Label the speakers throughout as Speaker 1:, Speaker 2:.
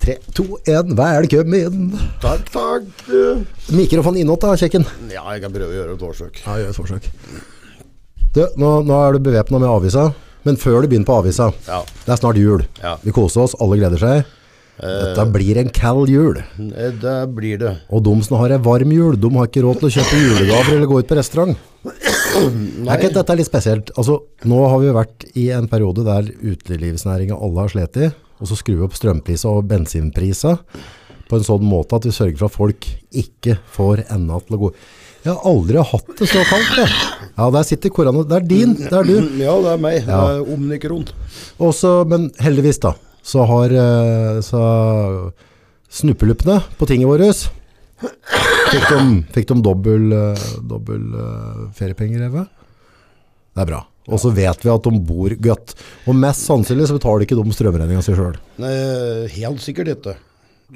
Speaker 1: Tre, to, én, velkommen!
Speaker 2: Takk, takk. Ja,
Speaker 1: Mikrofon innåt, da, kjekken.
Speaker 2: jeg kan prøve å gjøre et forsøk.
Speaker 1: Ja, gjør et forsøk. Du, nå, nå er du bevæpna med avisa, men før du begynner på avisa
Speaker 2: Ja.
Speaker 1: Det er snart jul.
Speaker 2: Ja.
Speaker 1: Vi koser oss, alle gleder seg. Dette blir en kald jul.
Speaker 2: Eh, Det blir det.
Speaker 1: Og de som har ei varm jul, de har ikke råd til å kjøpe julegaver eller gå ut på restaurant. Er ikke dette litt spesielt? Altså, nå har vi vært i en periode der utelivsnæringa alle har slitt i, og så skrur vi opp strømpriser og bensinpriser på en sånn måte at vi sørger for at folk ikke får enda til å gå Jeg har aldri hatt det så kaldt, jeg. Ja, der sitter korona. Det er din, det er du.
Speaker 2: Ja, det er meg. Det er omnikron.
Speaker 1: Og så- men heldigvis, da, så har eh, så snuppeluppene på tinget vårt Fikk de, fikk de dobbel, eh, dobbel eh, feriepenger, Eva? Det er bra. Og så vet vi at de bor godt. Og mest sannsynlig så betaler ikke de strømregninga si sjøl.
Speaker 2: Nei, Eh, Helt sikkert ikke.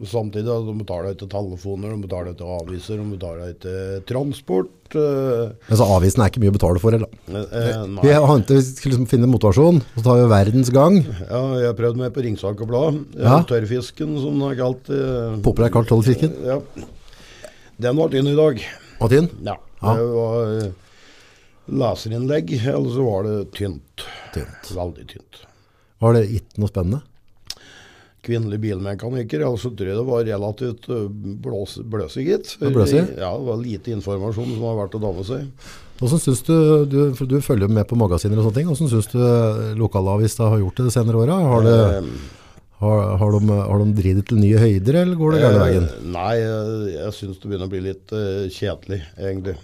Speaker 2: Samtidig at de betaler ikke telefoner, de betaler ikke aviser, de betaler ikke transport. eh,
Speaker 1: Men så Altså, avisen er ikke mye å betale for heller.
Speaker 2: eh,
Speaker 1: Vi
Speaker 2: Nei.
Speaker 1: har ikke- vi skal liksom finne motivasjon, og så tar vi verdens gang.
Speaker 2: Ja, jeg har prøvd meg på Ringsaker Blad. Eh,
Speaker 1: Ja.
Speaker 2: Tørrfisken, som det er kalt. eh,
Speaker 1: Populær kalt Tollerfisken.
Speaker 2: Ja. Den ble inn i dag.
Speaker 1: Martin?
Speaker 2: Ja.
Speaker 1: Ja.
Speaker 2: Det var eh, leserinnlegg, eller så var det tynt.
Speaker 1: Tynt.
Speaker 2: Veldig tynt.
Speaker 1: Var det ikke noe spennende?
Speaker 2: Kvinnelig bilmekaniker, eller så tror jeg det var relativt eh, blås, bløsig, gitt.
Speaker 1: Ja, bløsig?
Speaker 2: Ja, det var lite informasjon som var verdt å ta med seg.
Speaker 1: Hvordan synes du, du, for du følger jo med på magasiner og sånne ting, hvordan synes du lokalavista har gjort det de senere årene? Har,
Speaker 2: Eh,
Speaker 1: det, har, har, de, har de drivet til nye høyder, eller går det gærne veien?
Speaker 2: Eh, Nei, eh, jeg syns det begynner å bli litt eh, kjedelig, egentlig.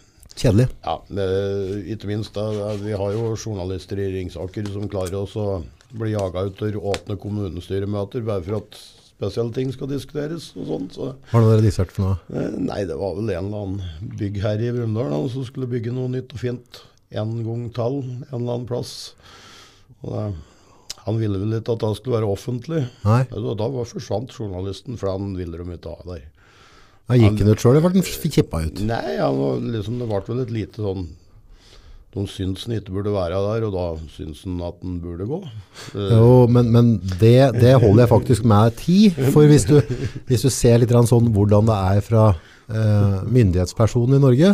Speaker 1: Kjedelig.
Speaker 2: Ja, eh, Ikke minst da, eh, vi har jo journalister i Ringsaker som klarer oss å bli jaga ut til åpne kommunestyremøter bare for at spesielle ting skal diskuteres og sånt. Så.
Speaker 1: Har dere dissert for noe?
Speaker 2: Eh, Nei, det var vel en eller annen byggherre i Brumunddal da, som skulle bygge noe nytt og fint. En gang tall, en eller annen plass. Og det, han ville vel ikke at det skulle være offentlig.
Speaker 1: Nei.
Speaker 2: Og da var forsvant journalisten, for han ville dem ikke ha der.
Speaker 1: Da gikk den ut selv, eller ble den f- kippa ut?
Speaker 2: Nei, han var liksom, det ble vel et lite sånn De syntes han ikke burde være der, og da syntes han at han burde gå. Eh,
Speaker 1: Jo, men, men det, det holder jeg faktisk med ti, for hvis du, hvis du ser litt grann sånn hvordan det er fra eh, myndighetspersonen i Norge,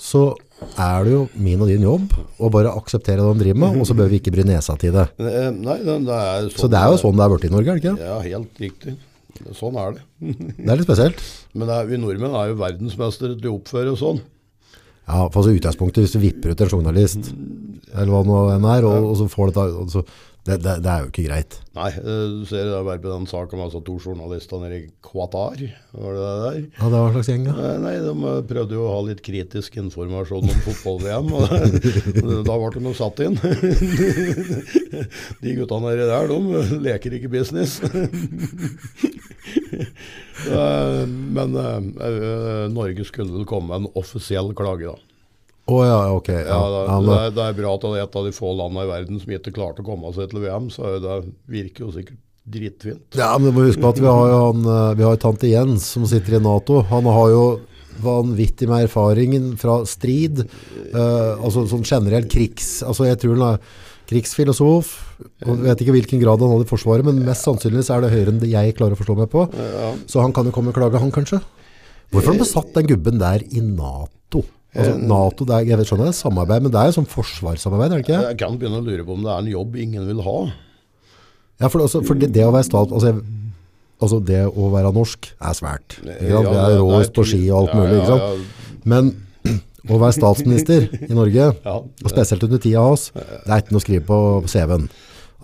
Speaker 1: så er det jo min og din jobb å bare akseptere det de driver med, og så bør vi ikke bry nesa til det.
Speaker 2: eh, Nei, det, det er sånn
Speaker 1: Så det er jo sånn det er blitt i Norge, er det ikke? det?
Speaker 2: Ja, helt riktig. Sånn er det.
Speaker 1: Det er litt spesielt.
Speaker 2: Men det er, vi nordmenn er jo verdensmestere til å oppføre sånn.
Speaker 1: Ja, for altså utgangspunktet, hvis du vipper ut en journalist, eller hva det nå enn er, og, og så får dette, og så, det, det, det er jo ikke greit.
Speaker 2: Nei, eh, du ser det er bare på den saken med altså, to journalister nede i Qatar. Var det det der?
Speaker 1: Ja, det var en slags gjeng, ja.
Speaker 2: Eh, Nei, de eh, prøvde jo å ha litt kritisk informasjon om fotball-VM, og da ble de jo satt inn. De gutta nedi der, de eh, leker ikke business. Eh, Men eh, eh, Norge skulle vel komme med en offisiell klage, da.
Speaker 1: Å ja, ok. Ja,
Speaker 2: Ja, da,
Speaker 1: ja,
Speaker 2: det,
Speaker 1: men,
Speaker 2: er, det er bra at det er et av de få landene i verden som ikke klarte å komme seg til VM, så er jo det virker jo sikkert dritfint.
Speaker 1: ja, men du må huske på at vi har jo han, eh, vi har jo tante Jens som sitter i NATO. Han har jo vanvittig med erfaringen fra strid, eh, altså sånn generell krigs... Altså jeg tror han er krigsfilosof, og jeg vet ikke hvilken grad han hadde i forsvaret, men mest sannsynlig så er det høyere enn det jeg klarer å forstå meg på. Så han kan jo komme og klage, han kanskje. Hvorfor har han besatt den gubben der i NATO? Altså, NATO, det er, jeg vet, skjønner det, er samarbeid, men det er jo sånn forsvarssamarbeid, er det ikke?
Speaker 2: Jeg kan begynne å lure på om det er en jobb ingen vil ha.
Speaker 1: Ja, for, det- altså, for det, det å være stat, altså, jeg, altså det å være norsk er svært. Ikke sant? Vi
Speaker 2: Ja,
Speaker 1: er
Speaker 2: det- det er
Speaker 1: råest på ski og alt
Speaker 2: ja,
Speaker 1: mulig,
Speaker 2: ja,
Speaker 1: ikke sant? Men å være statsminister i Norge,
Speaker 2: Ja.
Speaker 1: og spesielt under tida hans, det er ikke noe å skrive på CV-en.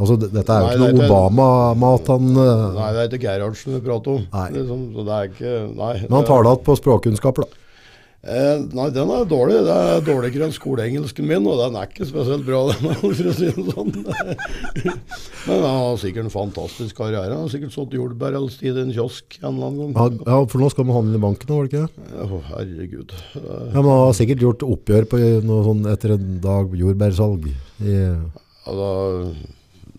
Speaker 1: Altså, det- dette er jo ikke
Speaker 2: Nei, det er
Speaker 1: noe
Speaker 2: ikke-
Speaker 1: Obama-mat han... eh,
Speaker 2: Nei, det er ikke Gerhardsen vi prater om.
Speaker 1: Nei.
Speaker 2: Liksom, så det er ikke, nei.
Speaker 1: Men han tar det alt på språkkunnskaper, da.
Speaker 2: Eh, nei, den er dårlig. Det er dårligere enn skoleengelsken min, og den er ikke spesielt bra, den, for å si det sånn. Men han har sikkert en fantastisk karriere. Han har sikkert sådd jordbær eller stid i en kiosk en eller annen gang.
Speaker 1: Ja, ja, for nå skal man handle i banken, nå, var det ikke det?
Speaker 2: Å, herregud. Eh,
Speaker 1: Ja, men han har sikkert gjort oppgjør på noe sånn etter en dag jordbærsalg. I,
Speaker 2: Ja, da,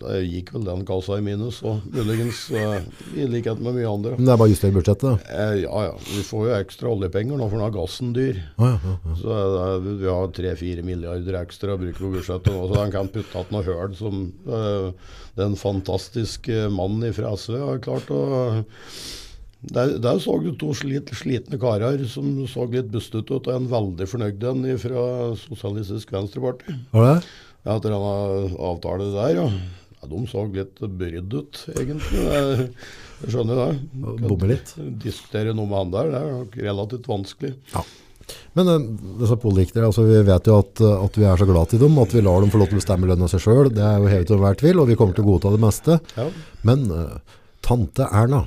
Speaker 2: Det gikk vel den kassa i minus, og muligens eh, i likhet med mye andre.
Speaker 1: Men det er bare å justere budsjettet.
Speaker 2: Eh, ja ja, vi får jo ekstra oljepenger nå, for nå er gassen dyr.
Speaker 1: Å, ja, ja, ja.
Speaker 2: Så eh, vi- vi har 3-4 milliarder ekstra å bruke på budsjettet nå, så den kan putte igjen noe høl som eh, den fantastiske mannen fra SV har klart å der, der så du to slit, slitne karer som så litt bustete ut, og en veldig fornøyd en fra Sosialistisk Venstreparti.
Speaker 1: Var det?
Speaker 2: Ja, etter denne avtalen der, ja. ja. De så litt brydd ut, egentlig. Jeg- Jeg skjønner det.
Speaker 1: Og bommer litt.
Speaker 2: Diskutere noe med han der, det er nok relativt vanskelig.
Speaker 1: Men eh, disse politikere, altså vi vet jo at, eh, at vi er så glad i dem, at vi lar dem få lov til å bestemme lønna seg sjøl. Det er jo hevet over enhver tvil, og vi kommer til å godta det meste.
Speaker 2: Ja.
Speaker 1: Men eh, tante Erna,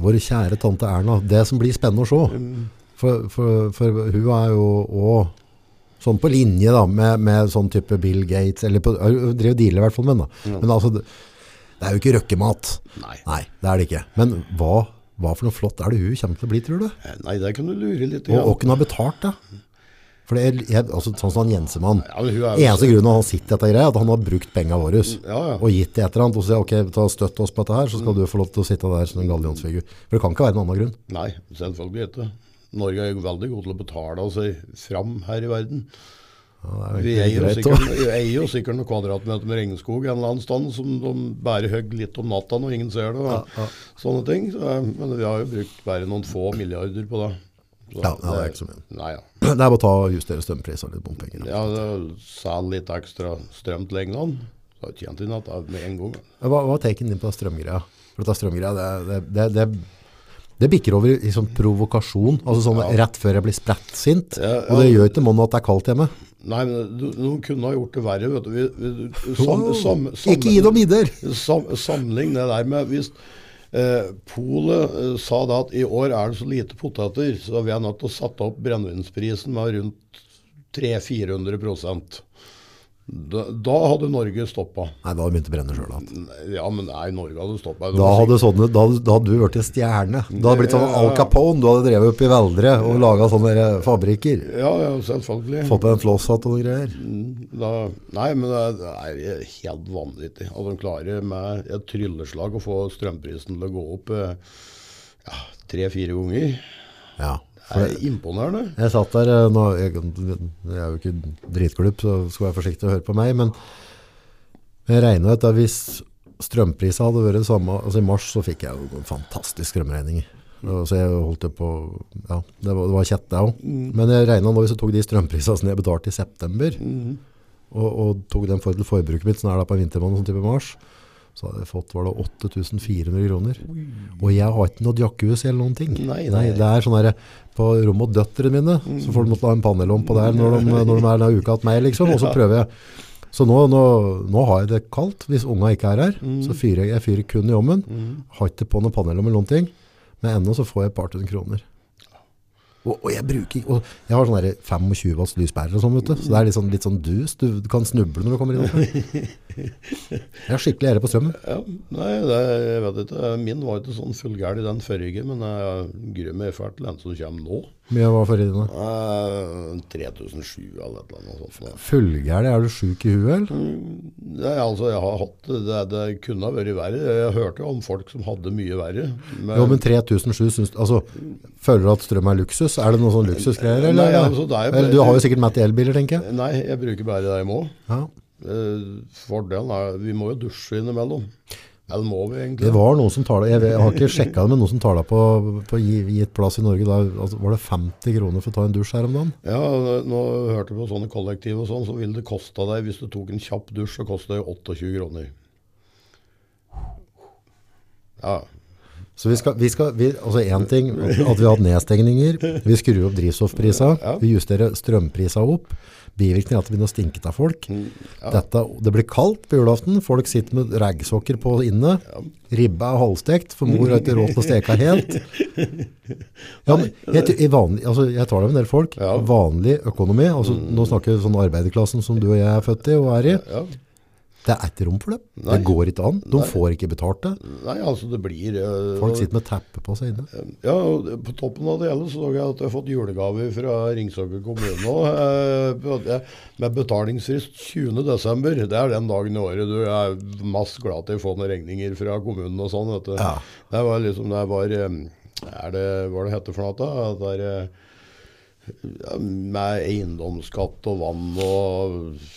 Speaker 1: våre kjære tante Erna, det som blir spennende å se
Speaker 2: Mm.
Speaker 1: For, for, for hun er jo òg sånn på linje da, med, med sånn type Bill Gates, eller på, hun driver og dealer i hvert fall med den. da. Men altså, det, det er jo ikke røkkemat.
Speaker 2: Nei.
Speaker 1: Nei, det er det ikke. Men hva, hva for noe flott er det hun kommer til å bli, tror du?
Speaker 2: Eh, Nei, det kan du lure litt.
Speaker 1: Og
Speaker 2: Ja.
Speaker 1: åkken har betalt det. For det er, jeg, altså, sånn som han Jensemann.
Speaker 2: Ja, men hun er jo-
Speaker 1: Eneste grunnen at han sitter i dette greia, er at han har brukt pengene våre.
Speaker 2: Ja, Mm. ja.
Speaker 1: Og gitt det et eller annet, og så sier jeg, ok, ta støtt oss på dette her, så skal du få lov til å sitte der som en gallionsfigur. For det kan ikke være noen annen grunn.
Speaker 2: Nei, selvfølgelig ikke. Norge er jo veldig god til å betale seg fram her i verden. Vi eier jo
Speaker 1: greit,
Speaker 2: sikkert, vi eier jo sikkert noen kvadratmeter med regnskog en eller annen stand som de bare høgg litt om natta når ingen ser det. Og Sånne ting. Så, eh, men vi har jo brukt bare noen få milliarder på det. Så
Speaker 1: Ja, ja, det er ikke så mye.
Speaker 2: Nei, ja.
Speaker 1: Det er bare å ta og justere strømpriser og litt bompenger.
Speaker 2: Ja, Selg litt ekstra strøm til England. Så har jeg tjent inn at det med en gang.
Speaker 1: Hva, hva er taken din på strømgreia? For dette strømgreia, det, det, det, det, det bikker over i sånn provokasjon. Altså sånn rett før jeg blir spredt sint.
Speaker 2: Ja, ja.
Speaker 1: Og det gjør ikke måneden at det er kaldt hjemme.
Speaker 2: Nei, men du- noen kunne ha gjort det verre, vet du. Vi, vi,
Speaker 1: Wow.
Speaker 2: sam, sam, sam,
Speaker 1: ikke gi dem midler!
Speaker 2: sam, sammenlign det der med hvis eh, Polet eh, sa da at i år er det så lite poteter, så vi er nødt til å sette opp brennevinsprisen med rundt 300-400 prosent. da, da hadde Norge stoppa.
Speaker 1: Nei, da hadde det begynt å brenne sjøl igjen.
Speaker 2: Ja, men nei, Norge hadde stoppa.
Speaker 1: Da hadde, sånne, da, hadde- da hadde du vært en stjerne. Da hadde det blitt sånn Al Capone. Du hadde drevet opp i Veldre og laga sånne der fabrikker.
Speaker 2: Ja, ja, selvfølgelig.
Speaker 1: Fått deg en flosshatt og noen greier.
Speaker 2: da, nei, men det det er helt vanvittig at de klarer med et trylleslag å få strømprisen til å gå opp eh, ja, tre-fire ganger.
Speaker 1: Ja.
Speaker 2: Det er imponerende.
Speaker 1: Jeg satt der eh, nå, jeg, jeg er jo ikke dritklubb, så skal være forsiktig å høre på meg, men jeg regner ut at hvis strømprisen hadde vært det samme, altså i mars så fikk jeg jo en fantastisk strømregning. Og Så jeg holdt det på, ja, det var, det var kjett det også. Men jeg regnet nå hvis jeg tok de strømprisene som jeg betalte i september, og, og tok den for til forbruket mitt, sånn er det på en vintermann, sånn type mars, så hadde jeg fått, var det 8400 kroner. Og jeg har ikke noe jakkehus eller noen ting.
Speaker 2: Nei,
Speaker 1: nei
Speaker 2: nei.
Speaker 1: det er sånn der, på rommet og døtteren mine, så får de måtte ha en panelom på der når de, når de er denne uka til meg, liksom, og så prøver jeg. Så nå, nå, nå har jeg det kaldt, hvis unga ikke er her, så fyrer jeg, jeg fyrer kun i ommen, har ikke på noen panelom eller noen ting, men enda så får jeg et par tusen kroner. Og, og jeg bruker ikke, og jeg har sånne der 25 watts lyspærer og sånn, vet du, så det er litt sånn, litt sånn dus, du, du kan snuble når du kommer inn. Jeg er skikkelig ære på strømmen.
Speaker 2: Ja, nei, det, jeg vet ikke. Min var ikke sånn fullgæren i den forrige, men jeg gruer meg fælt til den som kommer nå.
Speaker 1: Mye var forrige dine.
Speaker 2: Eh, 3007 eller et eller annet sånt.
Speaker 1: Fullgærlig, er du syk i huet, eller?
Speaker 2: Det, er altså, jeg har hatt det, det, det kunne ha vært verre. Jeg hørte jo om folk som hadde mye verre. men-
Speaker 1: Jo, men 3007 syns Altså, føler du at strøm er luksus? Er det noe sånn luksusgreier, eller?
Speaker 2: Nei, altså, det er jo-
Speaker 1: eller du har jo sikkert Matt i elbiler, tenker jeg.
Speaker 2: Nei, jeg bruker bare det jeg må.
Speaker 1: Ja.
Speaker 2: Eh, fordelen er vi må jo dusje innimellom. Eller må vi
Speaker 1: Det
Speaker 2: egentlig?
Speaker 1: var noen som tala jeg, vet- jeg har ikke sjekka det, men noen som tala på, på gi- gitt plass i Norge da altså, Var det 50 kroner for å ta en dusj her om dagen?
Speaker 2: Ja, nå hørte jeg på sånne kollektiv og sånn, så ville det kosta deg hvis du tok en kjapp dusj, så kosta det 28 kroner. Ja.
Speaker 1: Så vi skal, vi skal vi, Altså én ting, at at vi har hatt nedstengninger. Vi skrur opp drivstoffprisa.
Speaker 2: Ja.
Speaker 1: Vi justerer strømprisa opp. Bivirkningen er at det begynner å stinke av folk.
Speaker 2: Mm,
Speaker 1: Dette, det blir kaldt på julaften. Folk sitter med raggsokker på inne. Ribba er halvstekt, for mor har ikke råd til å steke helt. Ja, men jeg, ty- i vanlig, altså, jeg tar det med en del folk.
Speaker 2: Ja. Mm.
Speaker 1: Vanlig økonomi. Altså, nå snakker vi sånn arbeiderklassen som du og jeg er født i og er i.
Speaker 2: ja.
Speaker 1: Det er ikke rom for det.
Speaker 2: Nei.
Speaker 1: Det går ikke an. De
Speaker 2: Nei.
Speaker 1: får ikke betalt det.
Speaker 2: Nei, altså det blir eh,
Speaker 1: Folk sitter med teppe på seg inne.
Speaker 2: Ja, og På toppen av det hele så så jeg at jeg har fått julegave fra Ringsaker kommune nå, eh, på at jeg- med betalingsfrist 20.12. Det er den dagen i året du er mest glad til å få noen regninger fra kommunen og sånn. Vet du.
Speaker 1: Ja.
Speaker 2: Det var liksom det var eh, er det, Hva er det hette for noe da? Det er, eh, ja, med eiendomsskatt og vann og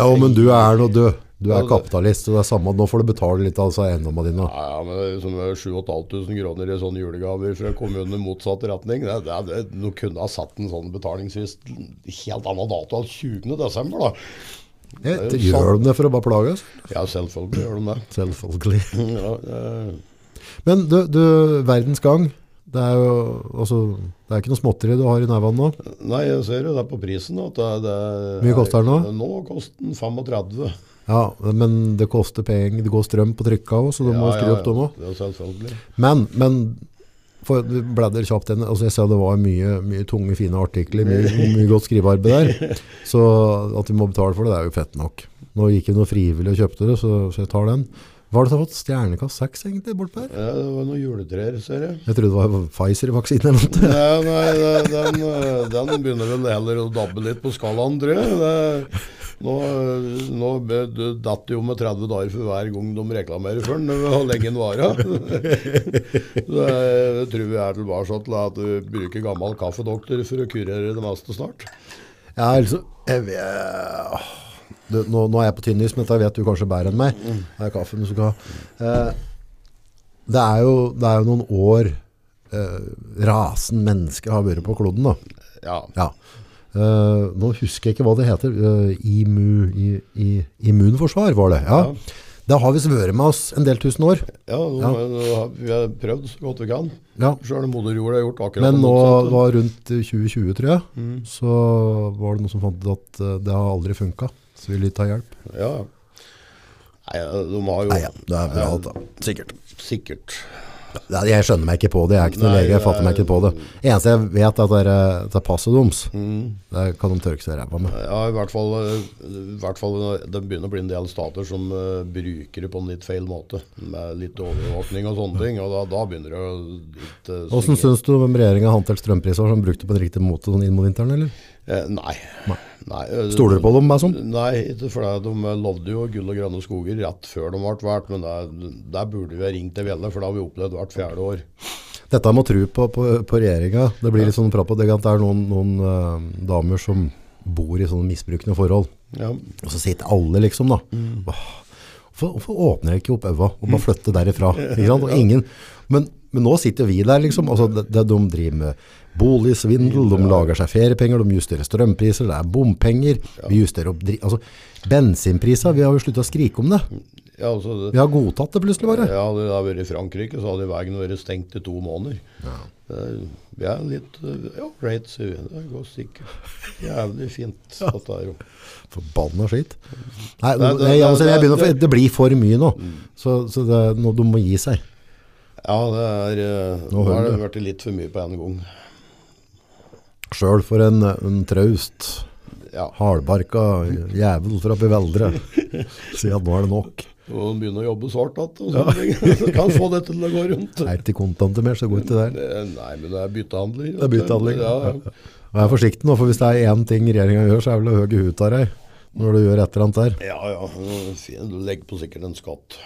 Speaker 1: Ja, men du er nå død. Du
Speaker 2: Ja,
Speaker 1: er
Speaker 2: det-
Speaker 1: kapitalist, og det er samme. Nå får du betale litt av altså, eiendommene dine.
Speaker 2: Ja, ja, men det er liksom 7500 kroner i sånn sånne julegaver fra kommunen i motsatt retning. Det, det, det, du kunne ha satt en sånn betalingsfrist helt annen dato enn 20. desember, da.
Speaker 1: Ja,
Speaker 2: det er jo
Speaker 1: gjør de det for å bare plage oss?
Speaker 2: Ja, selvfølgelig gjør de det.
Speaker 1: Selvfølgelig.
Speaker 2: Ja, eh,
Speaker 1: Men du, du verdens gang. Det er jo altså, det er ikke noe småtteri du har i nevene nå.
Speaker 2: nei, jeg ser jo det på prisen. At det, det,
Speaker 1: Mye koster den nå?
Speaker 2: Nå koster den 35.
Speaker 1: Ja, men det koster penger. Det går strøm på trykka òg, så du må skru opp dem òg.
Speaker 2: Ja, selvfølgelig.
Speaker 1: Men, men for vi bladder kjapt inn. Altså jeg ser det var mye, mye tunge, fine artikler, mye, mye godt skrivearbeid der. Så at vi må betale for det, det er jo fett nok. Nå gikk jo noe frivillig og kjøpte det, så, så jeg tar den. Hva har du fått? Stjernekast 6, egentlig, bortpå her?
Speaker 2: Ja, det var noen juletrær, ser jeg.
Speaker 1: Jeg trodde det var Pfizer-vaksine eller noe.
Speaker 2: Nei, nei det- den, eh, den begynner vel heller å dabbe litt på skalaen, tror jeg. Det, nå eh, nå be- du datt jo med 30 dager for hver gang de reklamerer for den, og lenge den varer. Så jeg tror vi er tilbake til at vi bruker gammel kaffedoktor for å kurere det meste snart.
Speaker 1: Ja, altså jeg, vet- åh. du, nå, nå er jeg på tynn is, men dette vet du kanskje bedre enn meg. Det er kaffen du skal ha. Eh, det, er jo, det er jo noen år eh, rasen mennesker har vært på kloden. da.
Speaker 2: Ja.
Speaker 1: Ja. Eh, nå husker jeg ikke hva det heter. Eh, immu, i, i, immunforsvar var det. Ja.
Speaker 2: Ja.
Speaker 1: Det har visst vært med oss en del tusen år.
Speaker 2: ja, nå, nå har vi har prøvd så godt vi kan.
Speaker 1: Ja.
Speaker 2: Sjøl moderjorda har gjort akkurat
Speaker 1: Men
Speaker 2: det
Speaker 1: nå
Speaker 2: motsatte.
Speaker 1: var rundt 2020, tror jeg, så var det noen som fant ut at eh, det har aldri funka. Så vil de ta hjelp.
Speaker 2: Ja. Nei, de har jo
Speaker 1: Nei, ja, det er bra da. Eh, Sikkert.
Speaker 2: sikkert
Speaker 1: Nei, Jeg skjønner meg ikke på det. Jeg er ikke noen
Speaker 2: Nei,
Speaker 1: lege. Jeg fatter meg
Speaker 2: det er-
Speaker 1: ikke på det. Eneste jeg vet, er at det er, det er passet deres. Det kan de tørke seg i ræva med.
Speaker 2: Ja, i hvert fall, eh, i hvert fall Det begynner å bli en del stater som eh, bruker det på en litt feil måte. Med litt overvåkning og sånne ting. Og da, da begynner det å litt eh,
Speaker 1: Åssen
Speaker 2: svinge.
Speaker 1: syns du om regjeringa håndtert strømpriser som brukte på en riktig måte sånn inn mot vinteren, eller?
Speaker 2: Eh, nei.
Speaker 1: Nei.
Speaker 2: Nei, eh,
Speaker 1: Stoler du på dem, meg sånn?
Speaker 2: Nei, ikke for det. de eh, lovde jo gull og grønne skoger rett før de ble valgt. Men der, der burde vi ha ringt til Velle, for det har vi opplevd hvert fjerde år.
Speaker 1: Dette med å tro på, på, på regjeringa, det blir litt sånn prat på det at det er noen, noen eh, damer som bor i sånne misbrukende forhold.
Speaker 2: Ja,
Speaker 1: Og så sitter alle liksom da. Åh, Hvorfor, hvorfor åpner jeg ikke opp øva og bare flytter derifra? Ikke sant? Og ingen, men, men nå sitter vi der liksom. Altså, det, det, de driver med boligsvindel, de lager seg feriepenger, de justerer strømpriser, det er bompenger, vi justerer opp dri- altså, bensinpriser. Vi har jo sluttet å skrike om det.
Speaker 2: ja altså det,
Speaker 1: Vi har godtatt det plutselig bare.
Speaker 2: Ja, hadde det vært i Frankrike, så hadde veien vært stengt i to måneder. Det- Vi er litt eh, Ja, greit, sier vi. Det går sikkert jævlig fint. Dette her.
Speaker 1: Forbanna skitt. Nei,
Speaker 2: Nei,
Speaker 1: nå-
Speaker 2: det-
Speaker 1: jeg, jeg,
Speaker 2: det-
Speaker 1: jeg begynner, å
Speaker 2: det- Mm.
Speaker 1: få- det blir for mye nå. Så, så det, nå, de må gi seg.
Speaker 2: Ja, det er eh,
Speaker 1: Nå
Speaker 2: Nå har
Speaker 1: hører
Speaker 2: det vært litt for mye på en gang.
Speaker 1: Selv for en, en traust
Speaker 2: Ja,
Speaker 1: Hardbarka jævel fra Beveldre. Sier at nå er det nok.
Speaker 2: Og en begynner å jobbe svart igjen. Ja. Så kan få dette til å gå rundt.
Speaker 1: Er ikke kontanter mer, så går ikke det der.
Speaker 2: Det, nei, men det er byttehandler.
Speaker 1: Det er byttehandling.
Speaker 2: Ja, ja.
Speaker 1: Vær forsiktig nå, for hvis det er én ting regjeringa gjør, så er det vel å høye huet av deg når du gjør et eller annet der.
Speaker 2: Ja, ja. Fin. Du legger på sikkert en skatt.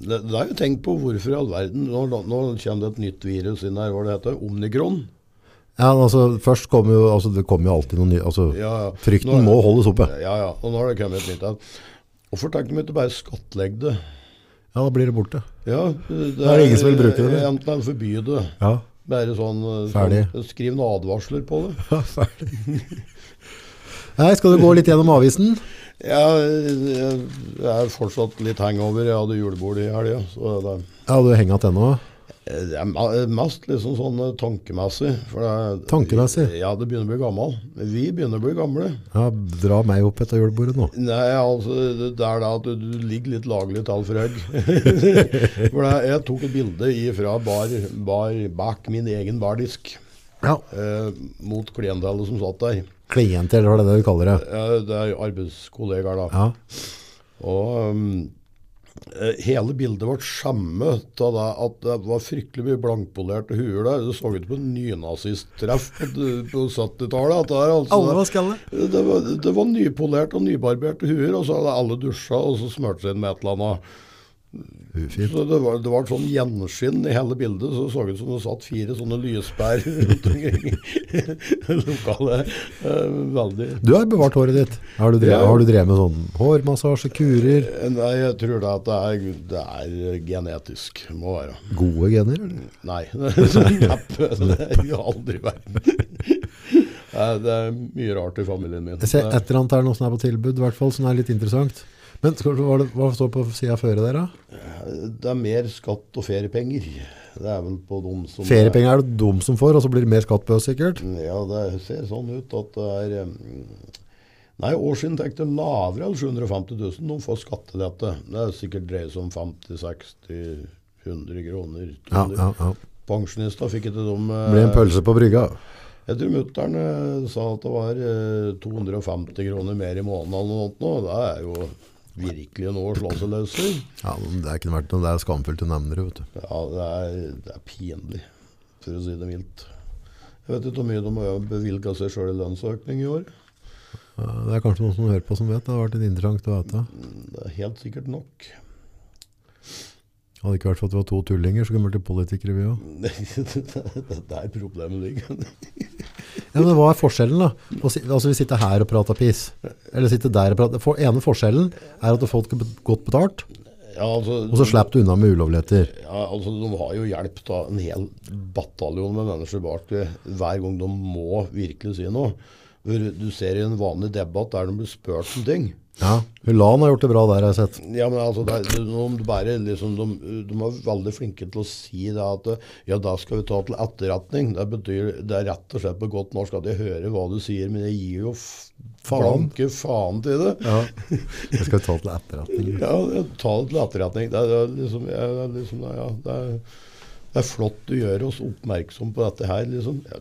Speaker 2: Det, det er jo tenkt på hvorfor i all verden Nå, nå kommer det et nytt virus inn her, hva det heter Omnikron.
Speaker 1: Ja, men altså, først kommer jo, altså, det kommer jo alltid noe nytt. Altså,
Speaker 2: Ja, ja.
Speaker 1: frykten
Speaker 2: Nå-
Speaker 1: må holdes oppe.
Speaker 2: Ja, ja. Og nå har det kommet et nytt en. Hvorfor tenker de ikke bare skattlegge det?
Speaker 1: Ja, da blir det borte.
Speaker 2: Ja, det
Speaker 1: er det ingen som vil bruke det, eller?
Speaker 2: Enten eller forby det.
Speaker 1: Ja,
Speaker 2: Bare sånn, eh,
Speaker 1: Ferdig.
Speaker 2: sånn Skriv noen advarsler på det.
Speaker 1: ferdig. Nei, skal du gå litt gjennom avisen?
Speaker 2: Ja, jeg, jeg er fortsatt litt hangover. Jeg hadde julebord i helga. Så det,
Speaker 1: Ja, du henger igjen ennå.
Speaker 2: det er ma- mest liksom sånn eh, tankemessig. For det, er-
Speaker 1: Tankemessig?
Speaker 2: Ja, det begynner å bli gammel. Vi begynner å bli gamle.
Speaker 1: Ja, dra meg opp etter julebordet nå.
Speaker 2: Nei, altså, det det er da at du, du ligger litt laglig til for høy. for det, jeg tok et bilde fra bar, bar, bak min egen bardisk
Speaker 1: Ja,
Speaker 2: eh, mot klientallet som satt der.
Speaker 1: klienter, eller hva det er det du kaller det.
Speaker 2: Eh, det er arbeidskollegaer, da.
Speaker 1: Ja,
Speaker 2: Og um, eh, hele bildet vårt skjemme av det at det var fryktelig mye blankpolerte huer der. Det så ut som et nynazisttreff på, på 70-tallet. at det er altså-
Speaker 3: Alle var skalle.
Speaker 2: det var, det var nypolert og nybarberte huer, og så hadde alle dusja og så smurt seg inn med et eller annet.
Speaker 1: Ufint.
Speaker 2: Så det var, det var et sånn gjenskinn i hele bildet, så det så ut som det satt fire sånne lyspærer rundt omkring i lokalet. Eh, Veldig
Speaker 1: Du har bevart håret ditt. Har du drevet,
Speaker 2: Ja.
Speaker 1: har du drevet med sånn hårmassasje, kurer?
Speaker 2: Eh, Nei, jeg tror da at det er, det er genetisk, må være.
Speaker 1: Gode gener, eller?
Speaker 2: Nei, neppe. Det er jo aldri i verden. Nei, Det er mye rart i familien min.
Speaker 1: Jeg ser et eller annet her nå som er på tilbud, i hvert fall, som er litt interessant. Men skal, hva, er det, hva står på sida før der, da?
Speaker 2: Det er mer skatt og feriepenger. Det er vel på de som
Speaker 1: Feriepenger er det dum som får, og så blir det mer skatt på oss, sikkert.
Speaker 2: Ja, det ser sånn ut at det er eh, Nei, årsinntekter lavere enn 750 000. De får skattelette. Det er sikkert dreier seg om 50-60-100 kroner.
Speaker 1: Ja, ja, ja.
Speaker 2: Pensjonister fikk ikke de eh,
Speaker 1: Det blir en pølse på brygga.
Speaker 2: Jeg tror mutter'n eh, sa at det var eh, 250 kroner mer i måneden eller noe sånt. nå. Det er jo virkelig noe å slå seg løs i.
Speaker 1: Ja, men Det er ikke noe verdt noe, det er skamfullt å nevne det, vet du.
Speaker 2: Ja, det er, det er pinlig, for å si det mildt. Jeg vet ikke hvor mye de har bevilga seg sjøl i lønnsøkning i år.
Speaker 1: Ja, Det er kanskje noen som hører på som vet, det hadde vært litt interessant å vite.
Speaker 2: Det er helt sikkert nok.
Speaker 1: Hadde det ikke vært for at vi var to tullinger, så kunne vi vært politikere, vi òg.
Speaker 2: det er der problemet ligger.
Speaker 1: Ja, men hva er forskjellen, da? Å si- Altså, vi sitter her og prater piss. Eller sitter der og prater For ene forskjellen er at folk er godt betalt,
Speaker 2: Ja, altså,
Speaker 1: og så slipper du unna med ulovligheter.
Speaker 2: ja, altså, de har jo hjelp av en hel bataljon med mennesker bak det, hver gang de må virkelig si noe. For Du ser i en vanlig debatt der de blir spurt om ting.
Speaker 1: Ja, Hulan har gjort det bra der, har jeg sett.
Speaker 2: Ja, men altså, det, er- de, de, bare, liksom, de, de er veldig flinke til å si det at ja, da skal vi ta til etterretning. Det betyr, det er rett og slett på godt norsk at jeg hører hva du sier, men jeg gir jo f-
Speaker 1: Faen.
Speaker 2: blanke faen til det.
Speaker 1: Ja. Jeg skal ta til etterretning.
Speaker 2: Ja, jeg tar det til etterretning. Det er, det er liksom, jeg, det er liksom ja, det, er, det er flott du gjør oss oppmerksom på dette her, liksom. Ja,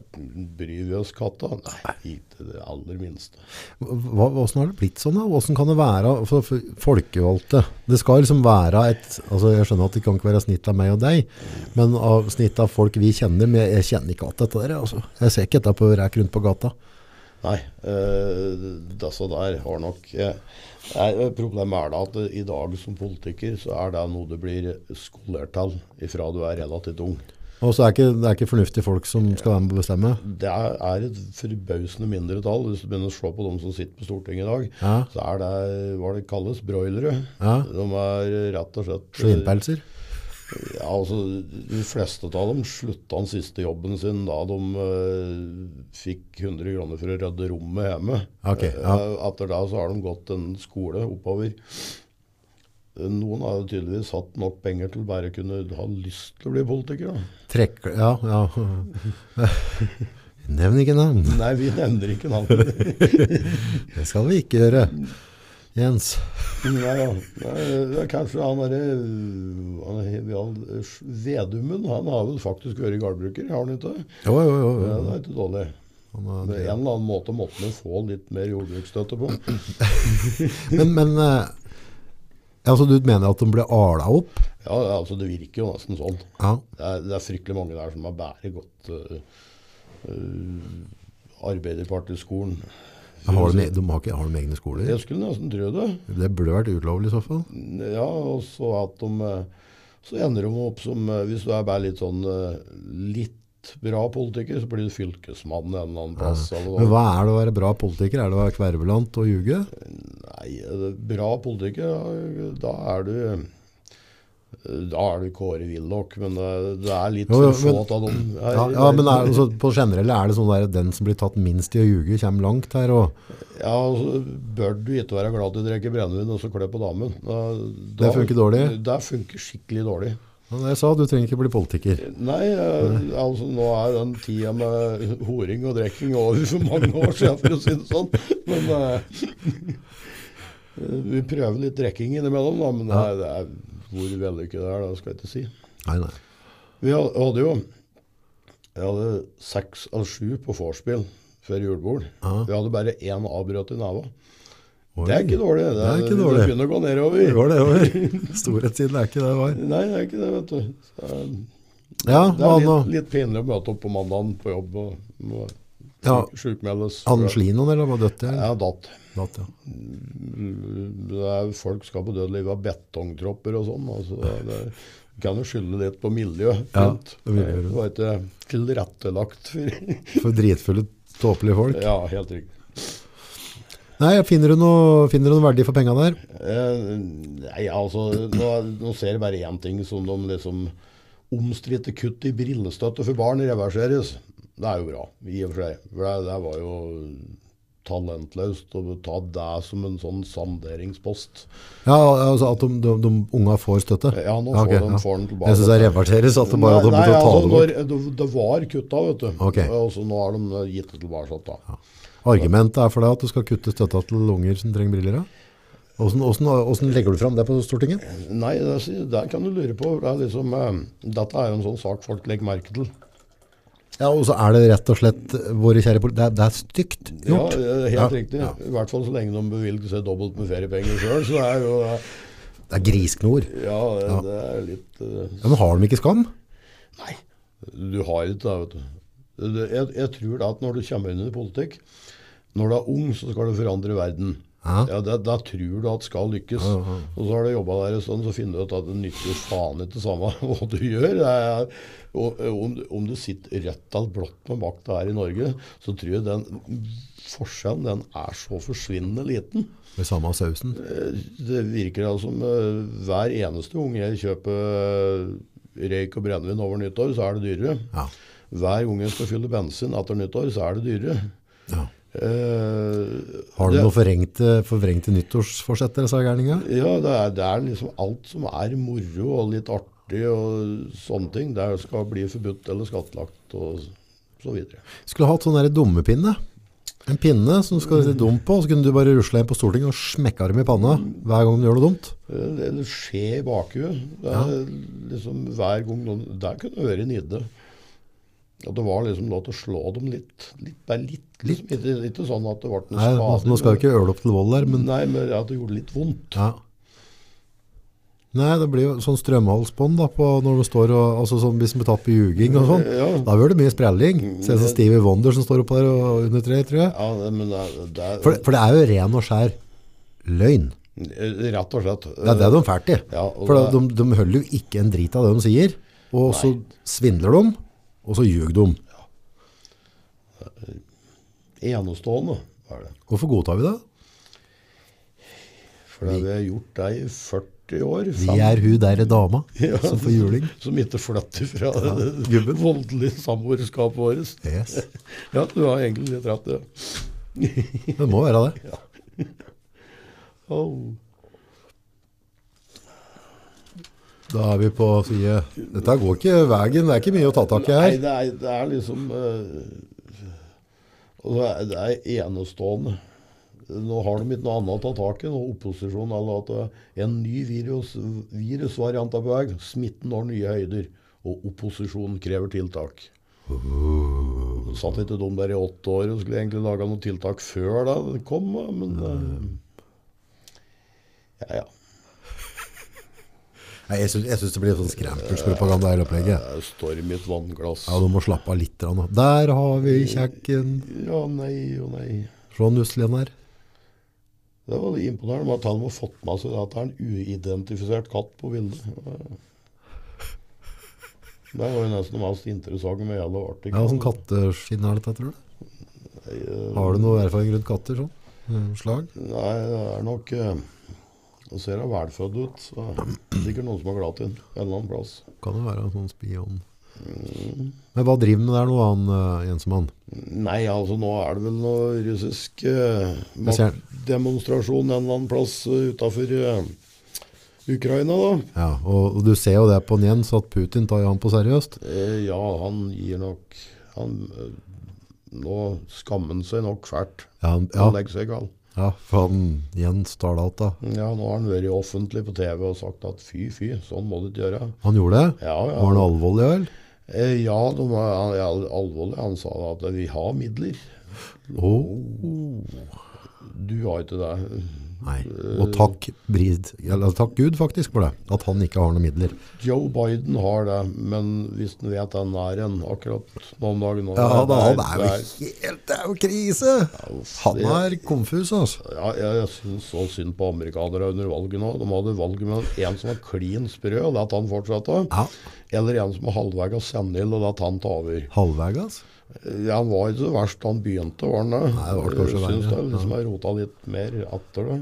Speaker 2: bryr vi oss katta? Nei, ikke det aller minste.
Speaker 1: Hva, hvordan har det blitt sånn, da? Hvordan kan det være for, for folkevalgte? Det skal liksom være et altså Jeg skjønner at det kan ikke være snitt av meg og deg, men av snitt av folk vi kjenner. Men jeg kjenner ikke at dette der, altså. Jeg ser ikke dette på rek rundt på gata.
Speaker 2: Nei, eh, disse der har nok eh, nei, Problemet er da at eh, i dag som politiker så er det noe du blir skolert til ifra du er relativt ung.
Speaker 1: Og så er ikke, det er ikke fornuftige folk som skal være med å bestemme.
Speaker 2: Det er er et forbausende mindretall. Hvis du begynner å se på dem som sitter på Stortinget i dag,
Speaker 1: Ja.
Speaker 2: så er det hva det kalles, broilere.
Speaker 1: Ja.
Speaker 2: De er rett og slett
Speaker 1: Svinpelser.
Speaker 2: Ja, altså, De fleste av dem slutta den siste jobben sin da de eh, fikk 100 kroner for å rydde rommet hjemme.
Speaker 1: Ok, ja.
Speaker 2: Eh, etter det så har de gått en skole oppover. Eh, Noen har jo tydeligvis hatt nok penger til bare å kunne ha lyst til å bli politiker. Da.
Speaker 1: Trekker Ja, ja. Nevn ikke navn.
Speaker 2: Nei, vi nevner ikke navnet.
Speaker 1: Det skal vi ikke gjøre. Jens.
Speaker 2: Nei, ja. Nei, det er kanskje han derre Vedumen, han har vel faktisk vært gardbruker, har han ikke?
Speaker 1: Jo, jo, jo.
Speaker 2: Ja,
Speaker 1: jo.
Speaker 2: det er ikke dårlig.
Speaker 1: Han
Speaker 2: På en
Speaker 1: er-
Speaker 2: eller annen måte måtte vi få litt mer jordbruksstøtte på.
Speaker 1: Men, men eh, altså, du mener at de ble ala opp?
Speaker 2: Ja, altså Det virker jo nesten sånn.
Speaker 1: Ja.
Speaker 2: Det er, det er fryktelig mange der som har bare gått eh, eh, Arbeiderpartiskolen.
Speaker 1: Har de, de har ikke har de egne skoler?
Speaker 2: Jeg skulle nesten tro det.
Speaker 1: Det burde vært ulovlig i så fall.
Speaker 2: Ja, og så at de eh, Så ender de opp som eh, Hvis du er bare litt sånn eh, litt bra politiker, så blir du fylkesmann en eller annen plass. Eller
Speaker 1: Men
Speaker 2: noe.
Speaker 1: hva er det å være bra politiker? Er det å være kvervelant og ljuge?
Speaker 2: Nei, eh, bra politiker, ja, da er du eh, da er du Kåre Willoch, men eh, det er litt
Speaker 1: Jo, jo,
Speaker 2: for
Speaker 1: men-
Speaker 2: få av dem. her
Speaker 1: Ja,
Speaker 2: i
Speaker 1: ja men er,
Speaker 2: verden.
Speaker 1: altså, på generelle er det sånn der den som blir tatt minst i å ljuge, kommer langt her. Og
Speaker 2: Ja, altså, bør du ikke være glad til å drikke brennevin og så klø på damen. Da,
Speaker 1: Det funker dårlig?
Speaker 2: Det funker skikkelig dårlig.
Speaker 1: Men jeg sa, du trenger ikke bli politiker.
Speaker 2: Nei, eh, altså nå er den tida med horing og drikking over for mange år siden, for å si det sånn. Men eh, vi prøver litt drikking innimellom, da. Men det er, det er hvor vellykket det er, det skal jeg ikke si.
Speaker 1: Nei, nei.
Speaker 2: Vi had- hadde jo Jeg hadde seks av sju på vorspiel før julebord.
Speaker 1: Ja.
Speaker 2: Vi hadde bare én avbrøt i neva. Det er ikke dårlig. Det,
Speaker 1: er ikke
Speaker 2: Det
Speaker 1: dårlig.
Speaker 2: begynner å gå
Speaker 1: Det
Speaker 2: nedover.
Speaker 1: var det over. Storhetstiden er ikke det det var.
Speaker 2: Nei, det er ikke det, vet du. Så,
Speaker 1: Ja,
Speaker 2: det er
Speaker 1: han,
Speaker 2: litt, litt pinlig å møte opp på mandagen på jobb og må
Speaker 1: Ja.
Speaker 2: sjukmeldes.
Speaker 1: han Slinoen, eller var dødt?
Speaker 2: Jeg
Speaker 1: Ja.
Speaker 2: har datt.
Speaker 1: Datt, ja.
Speaker 2: Det er, folk skal på dødelig av betongtropper og sånn. Altså, det, det kan jo skylde litt på miljøet
Speaker 1: Ja,
Speaker 2: rundt.
Speaker 1: det miljøet rundt.
Speaker 2: det var ikke tilrettelagt for
Speaker 1: For dritfulle, tåpelige folk.
Speaker 2: Ja, helt riktig.
Speaker 1: Nei, finner du noe, finner du noe verdi for penga der?
Speaker 2: Eh, nei, altså, nå, nå ser jeg bare én ting som de liksom Omstridte kutt i brillestøtte for barn reverseres. Det er jo bra, i og for seg. For det, det var jo talentløst å ta det som en sånn salderingspost.
Speaker 1: Ja, altså At de, de, de unga får støtte?
Speaker 2: Ja, nå
Speaker 1: ok,
Speaker 2: får de- får den tilbake.
Speaker 1: Jeg syns det reverteres at det bare hadde
Speaker 2: nei,
Speaker 1: blitt å ta
Speaker 2: altså,
Speaker 1: det bort.
Speaker 2: når- det, det var kutta, vet du.
Speaker 1: Ok.
Speaker 2: Og så nå har de gitt det tilbake. Da.
Speaker 1: Argumentet er for deg at du skal kutte støtta til unger som trenger briller? ja? Åssen- Åssen åssen legger du fram det på Stortinget?
Speaker 2: Nei, det, der kan du lure på. Det er liksom, eh, dette er jo en sånn sak folk legger merke til.
Speaker 1: Ja, Og så er det rett og slett eh, våre kjære politi... Det, er- det er stygt gjort.
Speaker 2: Ja, eh, helt
Speaker 1: Ja,
Speaker 2: riktig.
Speaker 1: ja.
Speaker 2: I hvert fall så lenge de bevilger seg dobbelt med feriepenger sjøl, så er jo eh,
Speaker 1: Det er grisknor.
Speaker 2: Ja, eh, det er litt eh,
Speaker 1: Ja, men har de ikke skam?
Speaker 2: Nei, du har ikke det, vet du. Det- Jeg, jeg tror da at når du kommer inn i politikk, når du er ung, så skal du forandre verden.
Speaker 1: Ja.
Speaker 2: Ja, det, Da tror du at skal lykkes. Og så har du jobba der en stund, så finner du ut at det nytter jo faen ikke samme hva du gjør. Det er, og, eh, om, om du sitter rett og blått med makta her i Norge, så tror jeg den forskjellen den er så forsvinnende liten.
Speaker 1: Med samme sausen.
Speaker 2: Eh, Det virker da som eh, hver eneste gang jeg kjøper eh, røyk og brennevin over nyttår, så er det dyrere.
Speaker 1: Ja.
Speaker 2: Hver gang jeg skal fylle bensin etter nyttår, så er det dyrere.
Speaker 1: ja.
Speaker 2: Eh,
Speaker 1: Har du
Speaker 2: det-
Speaker 1: noen forvrengte, forvrengte nyttårsforsetter, sa gærninga?
Speaker 2: Ja, det er, det er liksom alt som er moro og litt artig og sånne ting. Det skal bli forbudt eller skattlagt og så videre.
Speaker 1: Skulle hatt sånn der dummepinne. En pinne som du skal si dum på, og så kunne du bare rusle inn på Stortinget og smekke dem i panna hver gang de gjør noe dumt.
Speaker 2: Eh, Det, det skjer i bakhuet. Det er liksom hver gang noen Der kunne det vært en idé. At det var liksom lov til å slå dem litt. litt bare litt. Liksom. Ikke, ikke sånn at det ble noe
Speaker 1: Nei, nå nå skal du ikke øle opp til vold der, men
Speaker 2: Nei, men at det gjorde litt vondt.
Speaker 1: ja. Nei, det blir jo sånn strømhalsbånd da, på når du står og altså sånn, hvis de blir tatt på ljuging og sånn.
Speaker 2: Ja.
Speaker 1: Da blir det mye sprelling. Se sånn Stevie Wonder som står oppå der og under tre, tror jeg.
Speaker 2: Ja, det- men det, er- det er
Speaker 1: For, det- for det er jo ren og skjær løgn.
Speaker 2: eh, Rett og slett.
Speaker 1: Det er det de er fælt i.
Speaker 2: Ja, og
Speaker 1: for
Speaker 2: det-
Speaker 1: de, de holder jo ikke en drit av det de sier. Og så svindler de, og så ljuger de.
Speaker 2: eh, Enestående er det.
Speaker 1: Hvorfor godtar vi det?
Speaker 2: For det vi har gjort det i 40 år.
Speaker 1: Vi er hun der dama som får juling.
Speaker 2: Som ikke flytter fra det
Speaker 1: gubben.
Speaker 2: voldelige samboerskapet vårt.
Speaker 1: Yes.
Speaker 2: Ja, du har egentlig litt rett, ja.
Speaker 1: Det må være det.
Speaker 2: Oh.
Speaker 1: Da er vi på side Dette går ikke veien. Det er ikke mye å ta tak i
Speaker 2: Nei,
Speaker 1: her.
Speaker 2: det er, det er liksom eh, og det, er, det er enestående. Nå har de ikke noe annet å ta tak i. Nå opposisjonen er at det er en ny virus, virusvariant er på vei. Smitten når nye høyder. Og opposisjonen krever tiltak. Satt ikke de der i åtte år og skulle egentlig laga noen tiltak før da det kom, da, men eh, Ja, ja.
Speaker 1: Nei, jeg syns, jeg syns det blir sånn skremselspropaganda i hele opplegget.
Speaker 2: Det er storm i et vannglass.
Speaker 1: Ja, Du må slappe av litt. grann, da. Der har vi kjekken.
Speaker 2: Ja, nei og nei.
Speaker 1: Se han nuslen her.
Speaker 2: Det var litt imponerende at han har fått med seg at det er en uidentifisert katt på bildet. Det var jo nesten det mest interessante med hele artikkelen.
Speaker 1: Ja, Åssen sånn katteskinn er dette, tror du? Har du noe erfaring rundt katter? sånn? Mm, Slag?
Speaker 2: Nei, det er nok eh, Det ser da velfødd ut. Så det er sikkert noen som har glatt inn en eller annen plass.
Speaker 1: Kan jo være en sånn spion. Mm. Men hva driver han med der nå, han eh, Jensemann?
Speaker 2: Nei, altså nå er det vel noe russisk eh,
Speaker 1: Jeg ser den.
Speaker 2: maktdemonstrasjon en eller annen plass uh, utafor eh, Ukraina, da.
Speaker 1: Ja, og, og du ser jo det på han Jens, at Putin tar jo han på seriøst.
Speaker 2: Eh, ja, han gir nok han, eh, Nå skammer han seg nok fælt.
Speaker 1: Ja, han,
Speaker 2: Han
Speaker 1: ja,
Speaker 2: legger seg gal.
Speaker 1: Ja, for han Jens Starlata.
Speaker 2: Ja, nå har han vært offentlig på TV og sagt at fy, fy, sånn må du ikke gjøre.
Speaker 1: Han gjorde det?
Speaker 2: Ja, ja.
Speaker 1: Var han alvorlig, vel?
Speaker 2: Eh, ja, de var han er al- alvorlig. Han sa da at vi har midler.
Speaker 1: Å,
Speaker 2: Du har ikke det.
Speaker 1: Nei. Og takk, Brid, eller, takk Gud faktisk for det, at han ikke har noen midler.
Speaker 2: Joe Biden har det, men hvis han vet den er en akkurat nå om dagen nå,
Speaker 1: Ja,
Speaker 2: det
Speaker 1: da,
Speaker 2: er-
Speaker 1: han er jo
Speaker 2: det er-
Speaker 1: helt Det er jo krise! Han er konfus, altså.
Speaker 2: Ja, jeg, jeg syns så synd på amerikanere under valget nå. De hadde valget mellom en som var klin sprø, og la han fortsette,
Speaker 1: Ja.
Speaker 2: eller en som var halvveis senil, og la han ta over.
Speaker 1: Halvveis, altså.
Speaker 2: Ja, han var ikke så verst da han begynte, var han det?
Speaker 1: det var kanskje
Speaker 2: jeg syns
Speaker 1: verre,
Speaker 2: det liksom jeg rota litt mer etter det.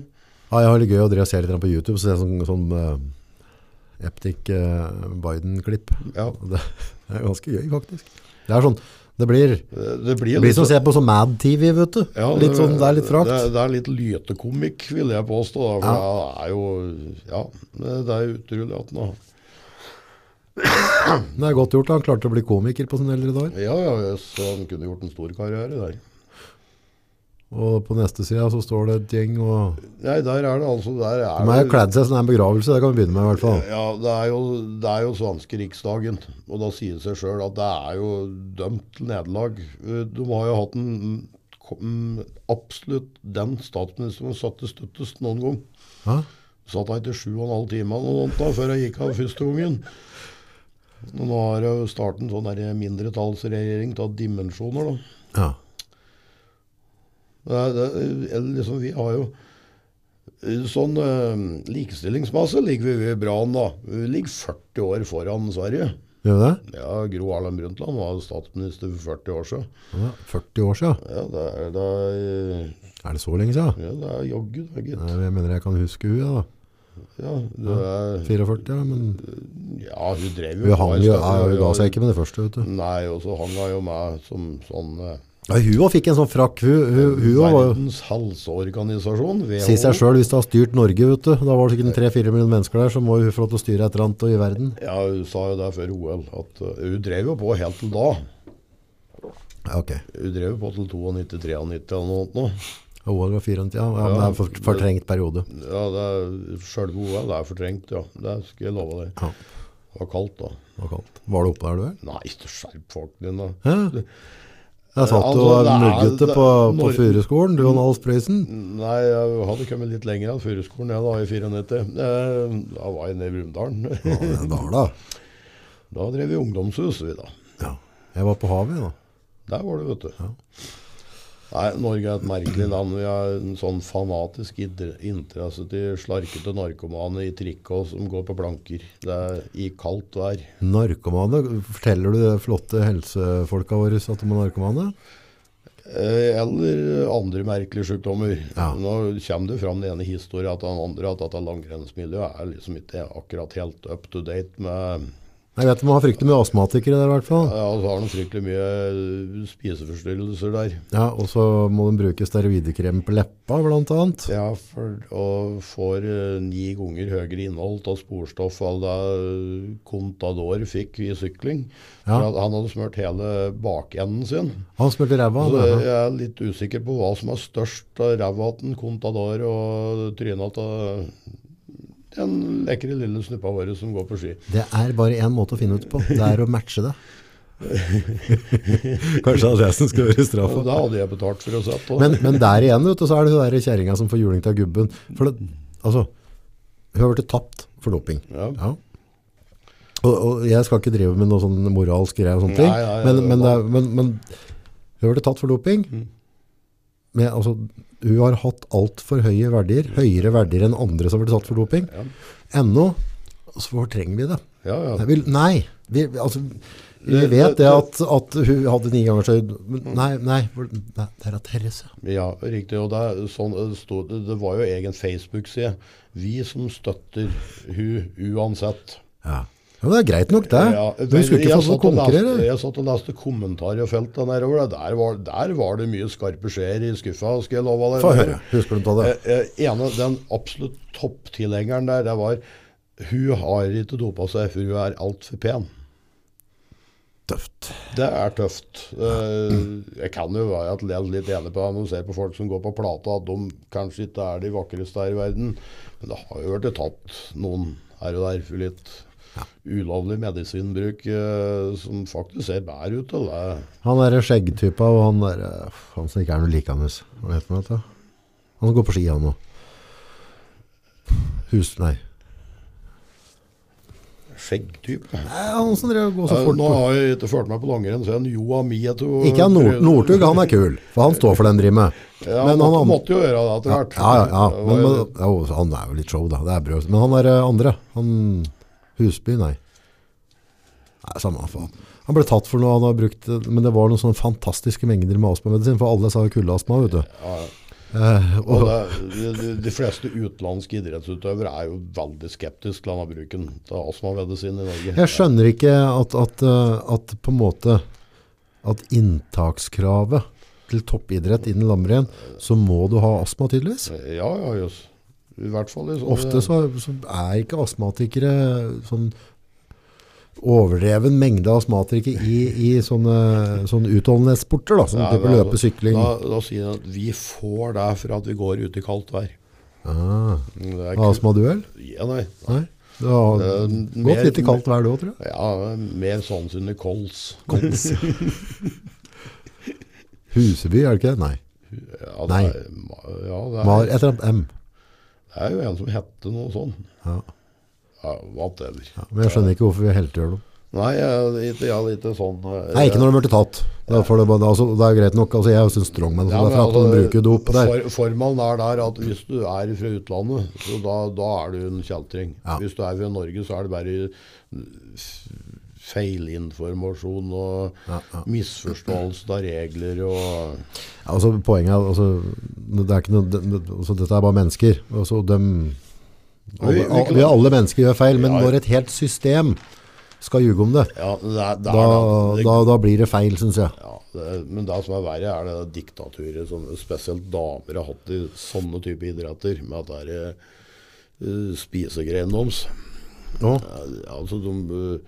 Speaker 1: Ja, jeg har det gøy å drive og se litt på YouTube, så det er sånn, sånn eh, Eptic eh, Biden-klipp.
Speaker 2: Ja.
Speaker 1: Det er ganske gøy, faktisk. Det er sånn, det blir,
Speaker 2: Det,
Speaker 1: det
Speaker 2: det blir
Speaker 1: blir
Speaker 2: litt
Speaker 1: som å se på sånn Mad TV, vet du.
Speaker 2: ja,
Speaker 1: litt sånn, det er litt
Speaker 2: Det,
Speaker 1: frakt.
Speaker 2: det er litt lytekomikk, vil jeg påstå. da, For det er jo Ja, det, det er utrolig at han har
Speaker 1: Det er godt gjort, da. han klarte å bli komiker på sine eldre dager.
Speaker 2: Ja, ja, jeg så han kunne gjort en stor karriere der.
Speaker 1: Og på neste sida så står det et gjeng og
Speaker 2: Nei, der er det altså Der er
Speaker 1: De har
Speaker 2: det-
Speaker 1: kledd seg som det er en begravelse, det kan vi begynne med i hvert fall.
Speaker 2: Ja, det er, jo, det er jo svenske riksdagen, og da sier det seg sjøl at det er jo dømt til nederlag. Eh, De har jo hatt en kom- en absolutt den statsministeren som satt det støttest noen gang.
Speaker 1: Ja.
Speaker 2: Satt han etter sju og en halv time eller noe sånt da, før han gikk av første gangen. Og Nå har jo starten sånn der mindretallsregjering av dimensjoner, da.
Speaker 1: ja.
Speaker 2: Det er, det, er liksom, vi har jo Sånn eh, likestillingsmasse ligger vi bra an, da. Vi ligger 40 år foran Sverige.
Speaker 1: Gjør vi det?
Speaker 2: Ja, Gro Harlem Brundtland var statsminister for 40 år siden.
Speaker 1: Ja, 40 år siden.
Speaker 2: Ja, det er, det er,
Speaker 1: Er det så lenge siden?
Speaker 2: ja, det er jaggu det, gitt.
Speaker 1: Nei, Jeg mener jeg kan huske hun, ja, da.
Speaker 2: Ja, det er,
Speaker 1: 44, ja, men
Speaker 2: ja, hun drev jo
Speaker 1: hun hang
Speaker 2: en
Speaker 1: jo
Speaker 2: stund,
Speaker 1: ja, Hun ga
Speaker 2: ja.
Speaker 1: seg ikke med det første, vet du.
Speaker 2: Nei, og så hang hun jo med som sånn eh,
Speaker 1: Ja, hun også fikk en sånn frakk. Hun, hun, hun også var jo
Speaker 2: Verdens helseorganisasjon,
Speaker 1: Si seg
Speaker 2: WHO.
Speaker 1: sjøl, hvis du har styrt Norge, vet du, da var det sikkert en 3-4 millioner mennesker der, så må hun få lov til å styre et eller annet og i verden.
Speaker 2: Ja, hun sa jo det før OL, at eh, hun drev jo på helt til da.
Speaker 1: Ja, ok.
Speaker 2: Hun drev jo på til 92-93 eller noe. sånt nå.
Speaker 1: Ja, OL var 94, ja, ja, men det er en for, fortrengt periode.
Speaker 2: Ja, det er, Selve OL er fortrengt, ja. Det skal jeg love deg.
Speaker 1: Ja,
Speaker 2: Det var kaldt da.
Speaker 1: det var kaldt. Var du oppe der, du, eller?
Speaker 2: Nei, ikke skjerp folk dine.
Speaker 1: Hæ? Jeg satt
Speaker 2: Altså,
Speaker 1: jo og
Speaker 2: det er-
Speaker 1: muggete
Speaker 2: det-
Speaker 1: på, på
Speaker 2: Nor-
Speaker 1: Furuskolen, du og Nals Prøysen.
Speaker 2: Nei, jeg hadde kommet litt lenger enn Furuskolen jeg da i 94. Eh, Da var jeg nede i Brumunddalen.
Speaker 1: Ja, det er der, da.
Speaker 2: Da drev vi ungdomshus, vi da.
Speaker 1: Ja. Jeg var på havet, da.
Speaker 2: Der var det, vet du. Nei, Norge er et merkelig land. Vi har en sånn fanatisk idre- interesse til slarkete narkomane i trikot som går på planker. Det er i kaldt vær.
Speaker 1: Narkomane. Forteller du de flotte helsefolka våre at de er narkomane?
Speaker 2: Eh, Eller andre merkelige sykdommer.
Speaker 1: Ja.
Speaker 2: Nå kommer det fram den ene historien at den andre, at dette langrennsmiljøet er liksom ikke akkurat helt up to date med
Speaker 1: Jeg vet de har fryktelig mye astmatikere der, i hvert fall.
Speaker 2: Ja, og så har de fryktelig mye eh, spiseforstyrrelser der.
Speaker 1: Ja, og så må de bruke steroidekrem på leppa, blant annet.
Speaker 2: Ja, for, og får eh, ni ganger høyere innhold av sporstoff enn det eh, Contador fikk i sykling.
Speaker 1: Ja.
Speaker 2: For at han hadde smurt hele bakenden sin.
Speaker 1: Han smurte ræva.
Speaker 2: Så
Speaker 1: han,
Speaker 2: jeg er litt usikker på hva som er størst av ræva til Contador og trynet til eh, den lekre lille snuppa vår som går på ski.
Speaker 1: Det er bare én måte å finne ut på. Det er å matche det. Kanskje det er det som skal være
Speaker 2: Og
Speaker 1: straffa.
Speaker 2: det hadde jeg betalt for å sette. også.
Speaker 1: Men, men der igjen, vet du, så er det hun der kjerringa som får juling av gubben. For det, altså, hun har blitt tapt for doping.
Speaker 2: Ja.
Speaker 1: Og, og jeg skal ikke drive med noe sånn moralsk greie og sånne ting,
Speaker 2: Nei, nei,
Speaker 1: men,
Speaker 2: det
Speaker 1: men, det, er- men, men hun har blitt tatt for doping.
Speaker 2: Mm.
Speaker 1: Men altså, hun har hatt altfor høye verdier, høyere verdier enn andre som har blitt tatt for doping. Ennå så fortrenger vi det.
Speaker 2: Ja, ja.
Speaker 1: Nei, vi, nei vi, vi- altså, vi
Speaker 2: Det-
Speaker 1: vet
Speaker 2: det-
Speaker 1: det at, at hun hadde ni ganger så men Nei, nei, hvor- nei det er av Therese.
Speaker 2: Ja, riktig. Og det, er sånn, det, stod, det det var jo egen Facebook-side. Vi som støtter hun uansett.
Speaker 1: Ja. ja, det er greit nok det.
Speaker 2: Ja,
Speaker 1: Men vi skulle ikke
Speaker 2: jeg
Speaker 1: få lov
Speaker 2: satt
Speaker 1: til
Speaker 2: og
Speaker 1: å
Speaker 2: leste-
Speaker 1: konkurrere.
Speaker 2: Jeg satt og leste kommentarfeltet nedover. Der. Der, var, der var det mye skarpe skjeer i skuffa, skal jeg love deg.
Speaker 1: Få høre. Husker du på det?
Speaker 2: Eh, eh, ene, den absolutt topptilhengeren der, det var hun har ikke dopa seg, for hun er altfor pen.
Speaker 1: Tøft.
Speaker 2: Det er tøft. Eh, Jeg kan jo være at jeg er litt enig på det når du ser på folk som går på plata, at de kanskje ikke er de vakreste her i verden. Men det har jo vært tatt noen her og der for litt ulovlig medisinbruk eh, som faktisk ser bedre ut. Eller?
Speaker 1: Han derre skjeggtypa og han derre Han som ikke er noe likandes. Hva heter han? vet du? Han som går på ski, han òg. Hus... Nei.
Speaker 2: Skjeggtype.
Speaker 1: Nei, Han som drev og går så
Speaker 2: Eh,
Speaker 1: fort.
Speaker 2: Nå
Speaker 1: på-
Speaker 2: har jeg ikke ført meg på langrenn, så jeg joa mi etter
Speaker 1: Ikke han Nord Northug, han er kul, for han står for den drivet.
Speaker 2: Ja,
Speaker 1: Men
Speaker 2: måtte,
Speaker 1: han andre
Speaker 2: måtte jo gjøre det etter hvert.
Speaker 1: Ja, ja, ja.
Speaker 2: Det var
Speaker 1: Men, men,
Speaker 2: jo-
Speaker 1: jo, han er jo litt show, da. Det er brød. Men han er eh, andre. Han Husby, nei. Nei, samme faen. Han ble tatt for noe han har brukt eh, Men det var noen sånne fantastiske mengder med astmamedisin, for alle sa jo kuldeastma, vet du.
Speaker 2: ja, ja.
Speaker 1: Eh,
Speaker 2: Og
Speaker 1: og,
Speaker 2: det, de, de fleste utenlandske idrettsutøvere er jo veldig skeptiske til denne bruken av astmamedisin i Norge.
Speaker 1: jeg skjønner ikke at, at, eh, at på en måte At inntakskravet til toppidrett innen langrenn, så må du ha astma, tydeligvis.
Speaker 2: Ja, ja, jøss. I hvert fall i sånne-
Speaker 1: Ofte så, så er ikke astmatikere sånn overdreven mengde astmatikere i, i sånne, sånne utholdenhetssporter, da, som
Speaker 2: Nei,
Speaker 1: type
Speaker 2: da-
Speaker 1: løpe, sykling.
Speaker 2: Da, da sier de at vi får det for at vi går ut i kaldt vær.
Speaker 1: Ah,
Speaker 2: Det er kult.
Speaker 1: astmaduell?
Speaker 2: Ja, nei.
Speaker 1: Nei. Du har
Speaker 2: Det er mer-
Speaker 1: gått litt i kaldt vær du òg, tror jeg.
Speaker 2: Ja, mer sannsynlig kols.
Speaker 1: Huseby, er det ikke det? Nei.
Speaker 2: Ja, det
Speaker 1: Nei.
Speaker 2: er, ma- ja, det er,
Speaker 1: Mar, et eller annet M.
Speaker 2: det er jo en som hette noe sånn.
Speaker 1: Ja.
Speaker 2: Ja, whatever.
Speaker 1: Ja, men jeg skjønner ikke hvorfor vi heltegjør dem.
Speaker 2: Nei, jeg, ikke- jeg er litt sånn eh,
Speaker 1: Nei, ikke når de blir tatt. Det er, for det, bare- altså, det er jo greit nok. Altså, jeg syns strongman
Speaker 2: Ja,
Speaker 1: ja, for
Speaker 2: men
Speaker 1: at de
Speaker 2: altså,
Speaker 1: bruker dop der.
Speaker 2: For, formalen er der at hvis du er fra utlandet, så da, da er du en kjeltring.
Speaker 1: Ja.
Speaker 2: Hvis du er fra Norge, så er det bare f- feilinformasjon og
Speaker 1: Ja, ja.
Speaker 2: misforståelse av regler og
Speaker 1: Ja, Altså, poenget er altså, det er ikke noe, det, det, altså, Dette er bare mennesker. Altså, dem, alle,
Speaker 2: vi kan-
Speaker 1: vi alle mennesker gjør feil, men
Speaker 2: Ja, ja.
Speaker 1: når et helt system skal ljuge om det,
Speaker 2: Ja, det er, det er
Speaker 1: da,
Speaker 2: det,
Speaker 1: da, da blir det feil, syns jeg.
Speaker 2: ja, det, men det som er verre, er det diktaturet som spesielt damer har hatt i sånne type idretter, med at det er uh, spisegreiene deres.
Speaker 1: Nå,
Speaker 2: Ja, altså de, eh,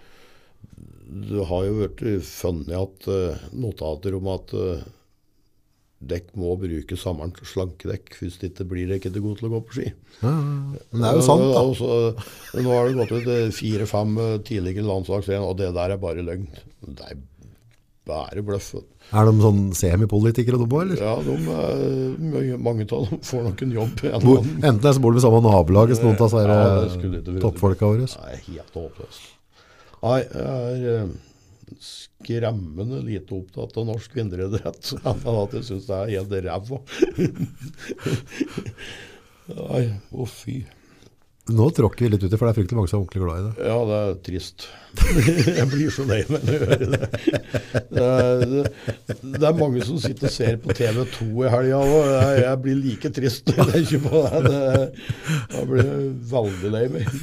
Speaker 2: Det har jo vært funnet at eh, notater om at eh, dekk må bruke sommeren til slankedekk, hvis det ikke blir dekk ikke god til å gå på ski.
Speaker 1: ja, men det er jo sant, da.
Speaker 2: Og så- men nå har det gått ut eh, fire-fem eh, tidligere landslagsrenn, og det der er bare løgn. Det er bare bløff. vet du.
Speaker 1: Er de sånn semipolitikere, de òg, eller?
Speaker 2: Ja, de, eh, mange- mange av dem får nok en jobb. en
Speaker 1: Bo,
Speaker 2: eller annen.
Speaker 1: enten det er så bor de i samme nabolag som noen av disse
Speaker 2: Ja, det
Speaker 1: her,
Speaker 2: skulle ikke
Speaker 1: eh,
Speaker 2: vært-
Speaker 1: toppfolka våre.
Speaker 2: Nei, helt håpløst. Nei, jeg er eh, skremmende lite opptatt av norsk vinneridrett. Annet enn at jeg syns det er helt ræva. Nei, å fy.
Speaker 1: Nå tråkker vi litt uti, for det er fryktelig mange som er ordentlig glad i det.
Speaker 2: Ja, det er trist. Jeg blir så lei meg når jeg hører det. Det er, det, det er mange som sitter og ser på TV 2 i helga òg. Jeg, jeg blir like trist når jeg tenker på det. det. Da blir jeg veldig lei meg.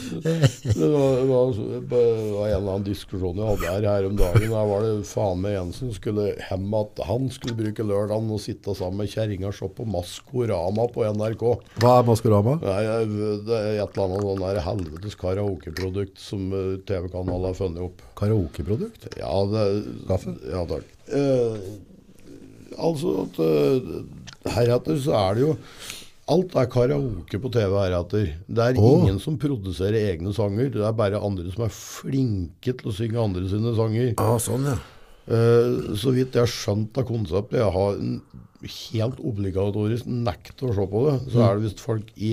Speaker 2: Det var, det var, det var en eller annen diskusjon jeg hadde her, her om dagen. Der var det faen meg en som skulle hjem at han skulle bruke lørdagen og sitte sammen med kjerringa og se på Maskorama på NRK.
Speaker 1: Hva er Maskorama?
Speaker 2: Nei, jeg- det er et eller annet sånn der helvetes karaokeprodukt som eh, TV-kanalen har funnet opp.
Speaker 1: Karaokeprodukt?
Speaker 2: Ja, det,
Speaker 1: Kaffe?
Speaker 2: Ja, takk. Eh, altså at eh, heretter så er det jo Alt er karaoke på TV heretter. Det er
Speaker 1: Åh.
Speaker 2: ingen som produserer egne sanger. Det er bare andre som er flinke til å synge andre sine sanger.
Speaker 1: Ja, sånn, ja.
Speaker 2: Eh, så vidt jeg har skjønt av konseptet, jeg har n- helt obligatorisk nekt å se på det, så er det visst folk i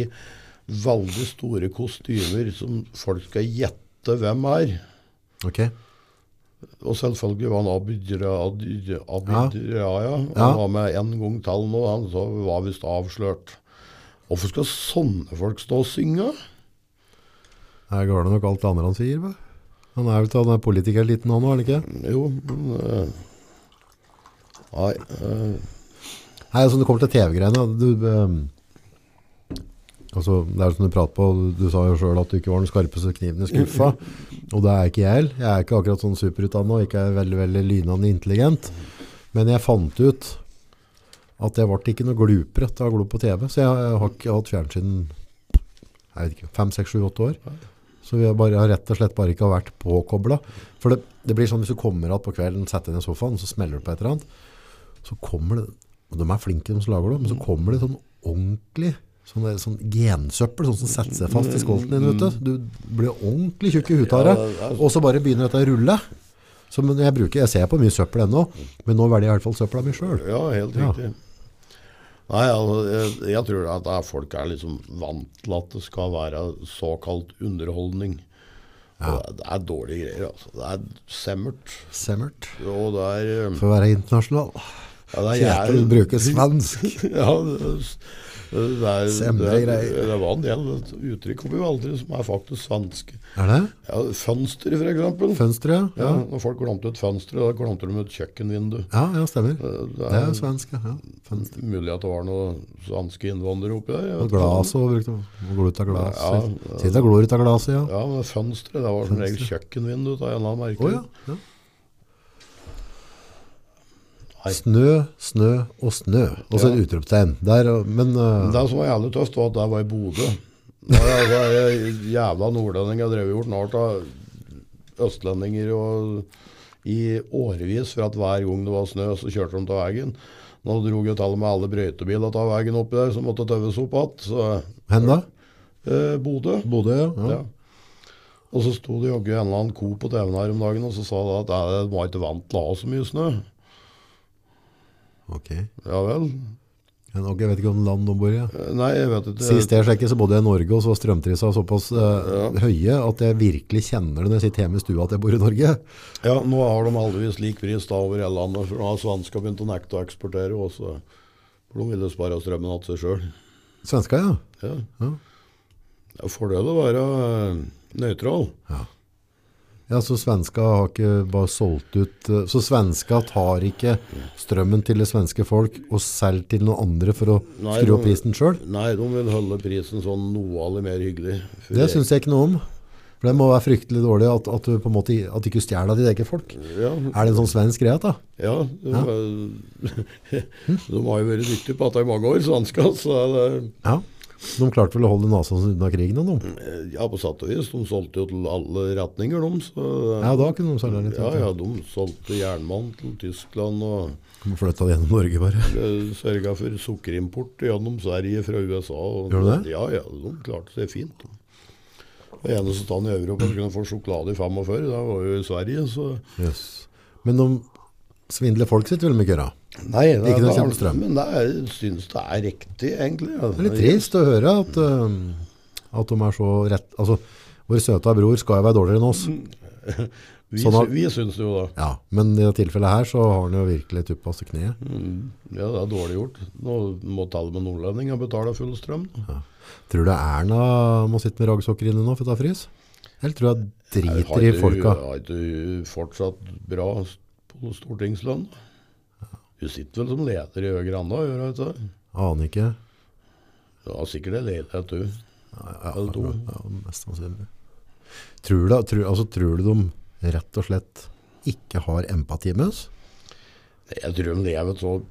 Speaker 2: veldig store kostymer som folk skal gjette hvem er.
Speaker 1: Ok.
Speaker 2: Og selvfølgelig var han Abid Ra- Abid Abid Raja.
Speaker 1: Ja.
Speaker 2: Han var med en gang til nå, han så var visst avslørt. Hvorfor skal sånne folk stå og synge?
Speaker 1: Er gale nok alt det andre han sier, hva? Han er vel til han er politikerliten han nå, er han ikke?
Speaker 2: Jo, men eh, Nei. eh,
Speaker 1: Nei, altså det kommer til TV-greiene du, ehm, altså, Det er som du prater på Du sa jo selv at du ikke var den skarpeste kniven i skuffa Og det er ikke jeg heller. Jeg er ikke akkurat sånn superutdannet Og ikke er veldig, veldig lynende intelligent Men jeg fant ut At jeg ble ikke noe glupere til å glo på TV Så jeg har ikke hatt fjernsyn Jeg vet ikke, 5, 6, 7, 8 år så vi har bare, jeg har rett og slett bare ikke vært påkoblet. For det, det blir sånn hvis du kommer at på kvelden, setter deg ned i sofaen, så smeller du på et eller annet så kommer det, og de er flinke de som lager det, men
Speaker 2: Mm.
Speaker 1: så kommer det sånn ordentlig sånn, der, sånn gensøppel, sånn som setter seg fast i skolten din, vet du. Du blir ordentlig tjukk i huet av det,
Speaker 2: Mm. Ja, det er så-
Speaker 1: og så bare begynner dette å rulle. Så, men jeg, bruker, jeg ser på mye søppel ennå, men nå velger jeg i hvert fall søpla mi sjøl.
Speaker 2: Ja, helt
Speaker 1: Ja.
Speaker 2: riktig. Nei, altså, jeg, jeg tror at det er folk er liksom vant til at det skal være såkalt underholdning. Og Det, det er dårlige greier, altså. Det er semmert.
Speaker 1: Semmert.
Speaker 2: Og det er eh,
Speaker 1: For å være internasjonal.
Speaker 2: ja, det er
Speaker 1: Kjetil bruker svensk.
Speaker 2: Ja, det, det, er, det,
Speaker 1: Semre
Speaker 2: er,
Speaker 1: greier.
Speaker 2: det var en del uttrykk oppi Valdres som er faktisk svenske.
Speaker 1: Er det?
Speaker 2: Ja, fønster, for eksempel.
Speaker 1: Fønsteret?
Speaker 2: Ja, når folk glemte ut fønsteret, da glemte de ut kjøkkenvindu.
Speaker 1: Ja, ja, stemmer.
Speaker 2: Det
Speaker 1: Det
Speaker 2: er
Speaker 1: er jo svensk, ja. ja. Fønster.
Speaker 2: mulig at det var noen svenske innvandrere oppi der. jeg
Speaker 1: Og
Speaker 2: vet
Speaker 1: glass
Speaker 2: ikke.
Speaker 1: og brukte og glor ut av glass.
Speaker 2: Ja,
Speaker 1: Ja, Sitt og glor ut av glasset, ja.
Speaker 2: Ja, men fønsteret, det var som regel kjøkkenvindu av en eller annen merke.
Speaker 1: Å ja. ja.
Speaker 2: Nei.
Speaker 1: Snø, snø og snø. Og så
Speaker 2: Ja.
Speaker 1: et utropstegn. Der, og- men
Speaker 2: Men
Speaker 1: eh,
Speaker 2: Det som var jævlig tøft, var at det var i Bodø. Da er det altså, jævla nordlendinger drevet gjort narr av østlendinger og i årevis for at hver gang det var snø, så kjørte de av veien. Nå dro jo tallet med alle brøytebiler av veien oppi der, som måtte tøves opp igjen. Så
Speaker 1: hen da?
Speaker 2: eh, Bodø.
Speaker 1: Bodø,
Speaker 2: Ja. Og så sto det jaggu en eller annen ko på TV-en her om dagen og så sa det at "Nei, de var ikke vant til å ha så mye snø.
Speaker 1: Ok.
Speaker 2: Ja vel.
Speaker 1: Men, ok, jeg vet ikke om land de bor i. ja.
Speaker 2: Eh, Nei, jeg vet ikke.
Speaker 1: Sist jeg sjekket, så bodde jeg i Norge, og så var strømprisa såpass eh, høye at jeg virkelig kjenner det når jeg sitter hjemme i stua at jeg bor i Norge.
Speaker 2: Ja, nå har de heldigvis lik pris da over hele landet, for nå har svenska begynt å nekte å eksportere også. For de ville spare strømmen til seg sjøl.
Speaker 1: Svenska, ja.
Speaker 2: Ja.
Speaker 1: Ja.
Speaker 2: Det er fordel å være eh, nøytral.
Speaker 1: Ja, så svenska har ikke bare solgt ut eh, Så svenska tar ikke strømmen til det svenske folk og selger til noen andre for å
Speaker 2: Nei,
Speaker 1: skru opp
Speaker 2: de-
Speaker 1: prisen sjøl?
Speaker 2: Nei, de vil holde prisen sånn noe aller mer hyggelig. For
Speaker 1: Det syns jeg ikke noe om. For det må være fryktelig dårlig at, at du på en måte at de ikke stjeler av ditt eget folk.
Speaker 2: Ja,
Speaker 1: Er det en sånn svensk greie, da?
Speaker 2: ja, de, eh, de har jo vært dyktige på dette i mange år, svenska. Så det-
Speaker 1: Ja. De klarte vel å holde nesa unna krigen av dem?
Speaker 2: eh, ja, på sett og vis. De solgte jo til alle retninger, de. Så,
Speaker 1: Ja, da kunne de selge litt.
Speaker 2: ja, ja, de solgte jernmann til Tyskland og
Speaker 1: De flytta det gjennom Norge, bare.
Speaker 2: Sørga eh, for sukkerimport gjennom Sverige fra USA. Og
Speaker 1: Gjorde du det?
Speaker 2: Ja, ja, de klarte seg fint. Det eneste stedet i Europa som kunne få sjokolade i 45, det var jo i Sverige. så...
Speaker 1: Yes. Men de svindler folk sitt vel med køra.
Speaker 2: Nei, det,
Speaker 1: Ikke noe
Speaker 2: det er-
Speaker 1: kjempestrøm.
Speaker 2: Men det er, jeg synes det er riktig, egentlig. altså. ja.
Speaker 1: Det er litt trist å høre at, eh, at de er så rett... Altså, vår søta bror skal jo være dårligere enn oss.
Speaker 2: Mm. Vi,
Speaker 1: Sånn at-
Speaker 2: sy- vi syns det jo da.
Speaker 1: Ja, men i dette tilfellet her så har han jo virkelig tuppas til kneet.
Speaker 2: Mm. Ja, det er dårlig gjort. Nå må tallet med nordlendinger betale full strøm. da.
Speaker 1: Tror du Erna må sitte med raggsokker inne nå for å ta frys? Eller tror du hun
Speaker 2: Har
Speaker 1: driter i
Speaker 2: ikke-
Speaker 1: folka?
Speaker 2: Har ikke hun fortsatt bra st- på stortingslønn? Hun sitter vel som leder i Høyre ennå, gjør hun ikke det?
Speaker 1: Aner ikke.
Speaker 2: Ja, sikkert en leilighet, du.
Speaker 1: Ja,
Speaker 2: Eller to.
Speaker 1: ja, mest sannsynlig. Tror du, tror, altså, tror du de rett og slett ikke har empati med oss?
Speaker 2: Jeg tror de lever et så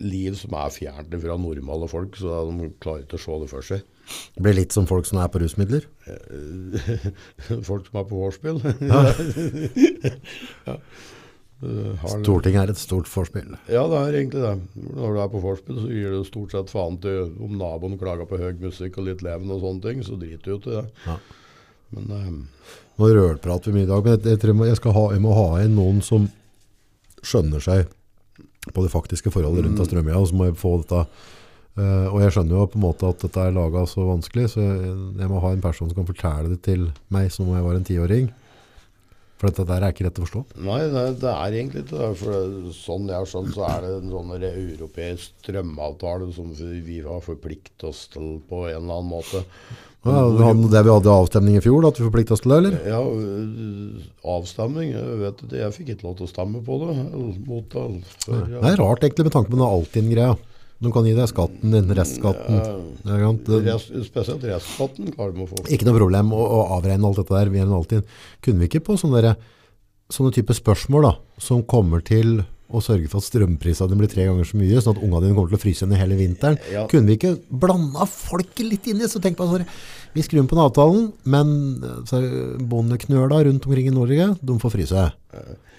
Speaker 2: liv som er fjernt fra normale folk, så de klarer ikke å se det for seg.
Speaker 1: Det blir litt som folk som er på rusmidler.
Speaker 2: Folk som er på vorspiel. Ja. Eh, har-
Speaker 1: Stortinget er et stort forspill.
Speaker 2: Ja, det er egentlig det. Når du er på vorspiel, så gir du stort sett faen til om naboen klager på høy musikk og litt leven og sånne ting, så driter du ut i det.
Speaker 1: Ja.
Speaker 2: Men eh,
Speaker 1: Nå rølprater vi mye i dag, men jeg, jeg tror jeg må, jeg skal ha, jeg må ha inn noen som skjønner seg på det faktiske forholdet rundt av strømmeia, og så må jeg få dette. eh, og jeg skjønner jo på en måte at dette er laget så vanskelig, så jeg, jeg må ha en person som kan fortelle det til meg som om jeg var en 10-åring. For dette der er ikke lett å forstå.
Speaker 2: Nei, det, det er egentlig ikke det. For det- sånn jeg har skjønt, så er det en sånn europeisk strømavtale som vi har forpliktet oss til på en eller annen måte.
Speaker 1: Ja, han- det vi hadde avstemning i fjor, da, at vi forpliktet oss til det, eller?
Speaker 2: Ja, øh, avstemning Jeg vet ikke, jeg fikk ikke lov til å stemme på det. Eller mot det. eller For,
Speaker 1: Det er rart egentlig med tanke på den Altinn-greia. De kan gi deg skatten din, restskatten. Det er sant, det-
Speaker 2: Rest, spesielt restskatten klarer de å få.
Speaker 1: Ikke noe problem å, å avregne alt dette der via en alltid. Kunne vi ikke på sånne, der, sånne type spørsmål da, som kommer til å sørge for at strømprisene blir tre ganger så mye, sånn at ungene dine kommer til å fryse henne hele vinteren?
Speaker 2: Ja.
Speaker 1: Kunne vi ikke blanda folket litt inn i så tenk på sånn, vi skrur på den avtalen, men eh, så er bondeknøla rundt omkring i Norge, de får fryse.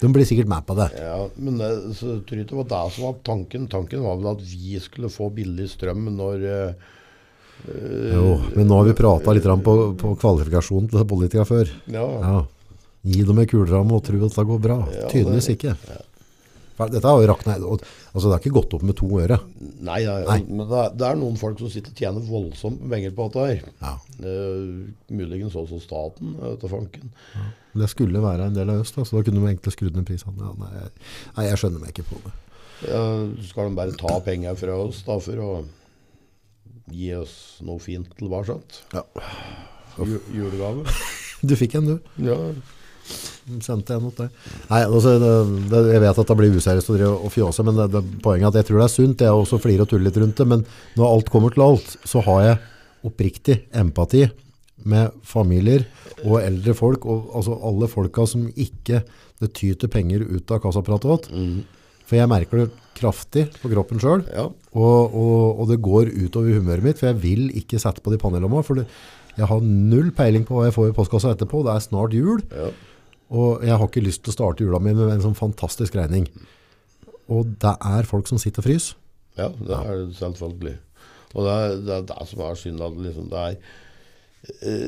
Speaker 1: De blir sikkert med på det.
Speaker 2: Ja, men det, så tror jeg ikke det var det som var tanken. Tanken var vel at vi skulle få billig strøm når eh,
Speaker 1: Jo, men nå har vi prata litt grann på, på kvalifikasjonen til politikere før.
Speaker 2: ja,
Speaker 1: Ja. Gi dem ei kuleramme og tro at det går bra.
Speaker 2: Ja,
Speaker 1: Tydeligvis ikke. Hva- Dette har jo rakna og- Altså, det har ikke gått opp med to øre.
Speaker 2: Nei, ja,
Speaker 1: Nei.
Speaker 2: men det er, det er noen folk som sitter og tjener voldsomt med penger på dette her.
Speaker 1: Ja.
Speaker 2: Eh, muligens også staten, eh, til fanken.
Speaker 1: Det skulle være en del av øst, da, så da kunne de egentlig skrudd ned prisene. Ja, nei, jeg- nei, jeg skjønner meg ikke på det.
Speaker 2: Eh, skal de bare ta penger fra oss da for å gi oss noe fint tilbake?
Speaker 1: Ja.
Speaker 2: Ju- Julegave?
Speaker 1: Du fikk en, du.
Speaker 2: Ja.
Speaker 1: Sendte en mot deg. Nei, altså, det, det, jeg vet at det blir useriøst å drive og fjåse, men det, det, poenget er at jeg tror det er sunt. Jeg er også flirer og tuller litt rundt det, men når alt kommer til alt, så har jeg oppriktig empati med familier og eldre folk, og altså alle folka som ikke det tyter penger ut av kassaapparatet vårt. For jeg merker det kraftig på kroppen sjøl.
Speaker 2: ja.
Speaker 1: Og, og, og det går utover humøret mitt, for jeg vil ikke sette på de panelommene, for det, jeg har null peiling på hva jeg får i postkassa etterpå. Det er snart jul,
Speaker 2: ja.
Speaker 1: og jeg har ikke lyst til å starte jula mi med en sånn fantastisk regning. Og det er folk som sitter og fryser.
Speaker 2: Ja, det er det selvfølgelig. Og det er det, er det som er synd. At liksom det er, eh,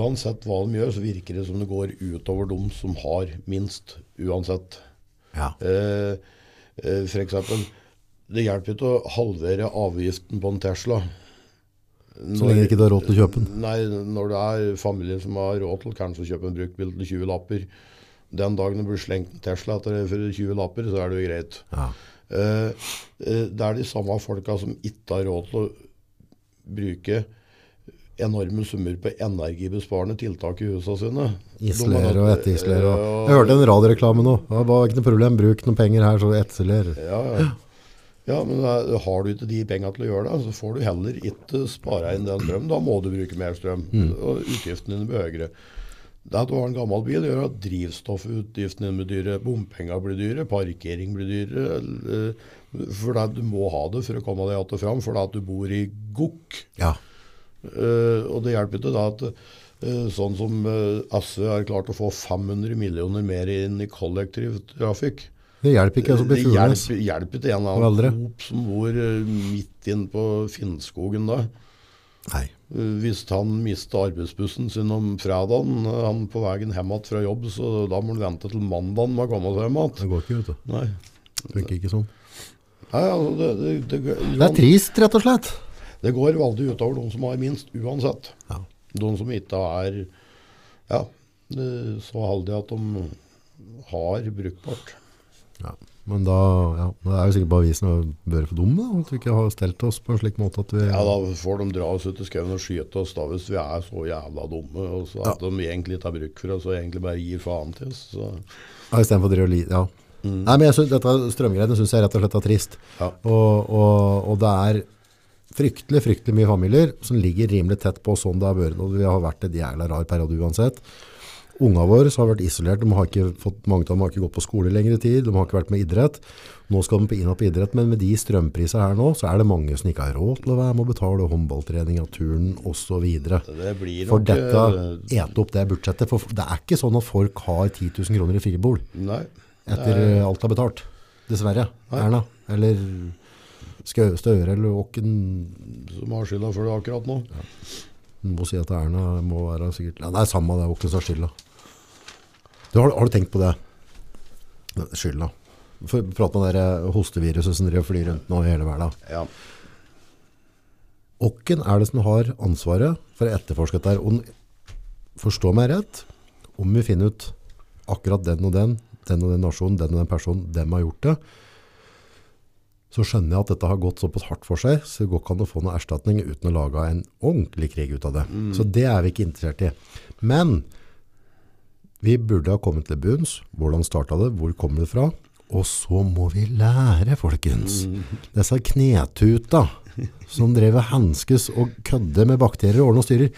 Speaker 2: uansett hva de gjør, så virker det som det går utover dem som har minst. Uansett.
Speaker 1: Ja.
Speaker 2: Eh, eh, for eksempel, det hjelper ikke å halvere avgiften på en Tesla.
Speaker 1: Så lenge ikke du har råd til å kjøpe den.
Speaker 2: Nei, når det er familier som har råd til kanskje å kjøpe en bruktbil til 20 lapper. Den dagen det blir slengt en Tesla etter for 20 lapper, så er det jo greit.
Speaker 1: Ja.
Speaker 2: Eh, eh, det er de samme folka som ikke har råd til å bruke enorme summer på energibesparende tiltak i husene sine.
Speaker 1: Isoler og etterisoler. og- Jeg
Speaker 2: Ja,
Speaker 1: hørte en radioreklame nå. Det var ikke noe problem, bruk noen penger her, så etterisoler.
Speaker 2: ja, ja. ja, men da har du ikke de penga til å gjøre det, så får du heller ikke spare inn den strømmen. Da må du bruke mer strøm, og utgiftene dine blir høyere. Det at du har en gammel bil, gjør at drivstoffutgiftene dine blir dyre, bompenger blir dyre, parkering blir dyre. eh, For det at du må ha det for å komme deg att og fram, for det at du bor i gokk.
Speaker 1: Ja.
Speaker 2: Eh, og det hjelper ikke da at eh, sånn som eh, SV har klart å få 500 millioner mer inn i kollektivtrafikk.
Speaker 1: Det hjelper ikke å bli altså.
Speaker 2: Det
Speaker 1: fuglenes.
Speaker 2: hjelper, hjelper til en
Speaker 1: Og
Speaker 2: eller
Speaker 1: eldre.
Speaker 2: annen hop som bor eh, midt inn på Finnskogen da.
Speaker 1: Nei.
Speaker 2: Eh, Hvis han mister arbeidsbussen sin om fredagen, eh, han på veien hjem igjen fra jobb, så da må han vente til mandagen med å komme seg hjem igjen.
Speaker 1: Det går ikke, vet du.
Speaker 2: Nei.
Speaker 1: Funker ikke sånn.
Speaker 2: Nei, altså, det, det, det,
Speaker 1: Det er trist, rett og slett.
Speaker 2: det går veldig utover de som har minst, uansett.
Speaker 1: Ja.
Speaker 2: De som ikke er ja, eh, så heldige at de har brukbart.
Speaker 1: Ja, men da, ja, men det er jo sikkert bare vi som har vært for dumme, da, at vi ikke har stelt oss på en slik måte at vi...
Speaker 2: Ja, da får de dra oss ut i skauen og skyte oss da hvis vi er så jævla dumme. Og så at de egentlig ikke har bruk for oss og egentlig bare gir faen til oss. Så.
Speaker 1: Ja, i stedet for å drive og li- ja.
Speaker 2: Mm.
Speaker 1: Nei, men jeg synes, dette strømgreiene synes jeg rett og slett er trist.
Speaker 2: Ja.
Speaker 1: Og, og, og det er fryktelig, fryktelig mye familier som ligger rimelig tett på sånn det har vært, og vi har vært et jævla rar periode uansett. Unga våre som har vært isolert, de har ikke fått, mange av dem har ikke gått på skole lenger i tid, de har ikke vært med i idrett. Nå skal de på inn på idrett, men med de strømpriser her nå, så er det mange som ikke har råd til å være med å betale håndballtrening av turen, og så videre.
Speaker 2: Det blir
Speaker 1: For
Speaker 2: nok,
Speaker 1: dette
Speaker 2: eh,
Speaker 1: eter opp det budsjettet. For det er ikke sånn at folk har 10 000 kroner i fribol
Speaker 2: Nei.
Speaker 1: etter eh, alt er betalt. Dessverre. Erna. Eller Skau- Støre eller Åken. eh,
Speaker 2: Som har skylda for det akkurat nå.
Speaker 1: Du må si at Erna må være sikkert ja, Det er samme det er Åken som har skylda. Du, har, har du tenkt på det? Skylda. For, prat om det der hosteviruset som driver og flyr rundt nå i hele verden.
Speaker 2: Ja.
Speaker 1: Åkken er det som har ansvaret for å etterforske dette. her, Og n- forstå meg rett, om vi finner ut akkurat den og den, den og den nasjonen, den og den personen, dem har gjort det, så skjønner jeg at dette har gått såpass hardt for seg, så det går ikke an å få noen erstatning uten å lage en ordentlig krig ut av det. Så det er vi ikke interessert i. Men vi burde ha kommet til bunns. Hvordan starta det? Hvor kommer det fra? Og så må vi lære, folkens. Disse knetuta som drev og hanskes og kødde med bakterier og ordne og styrer.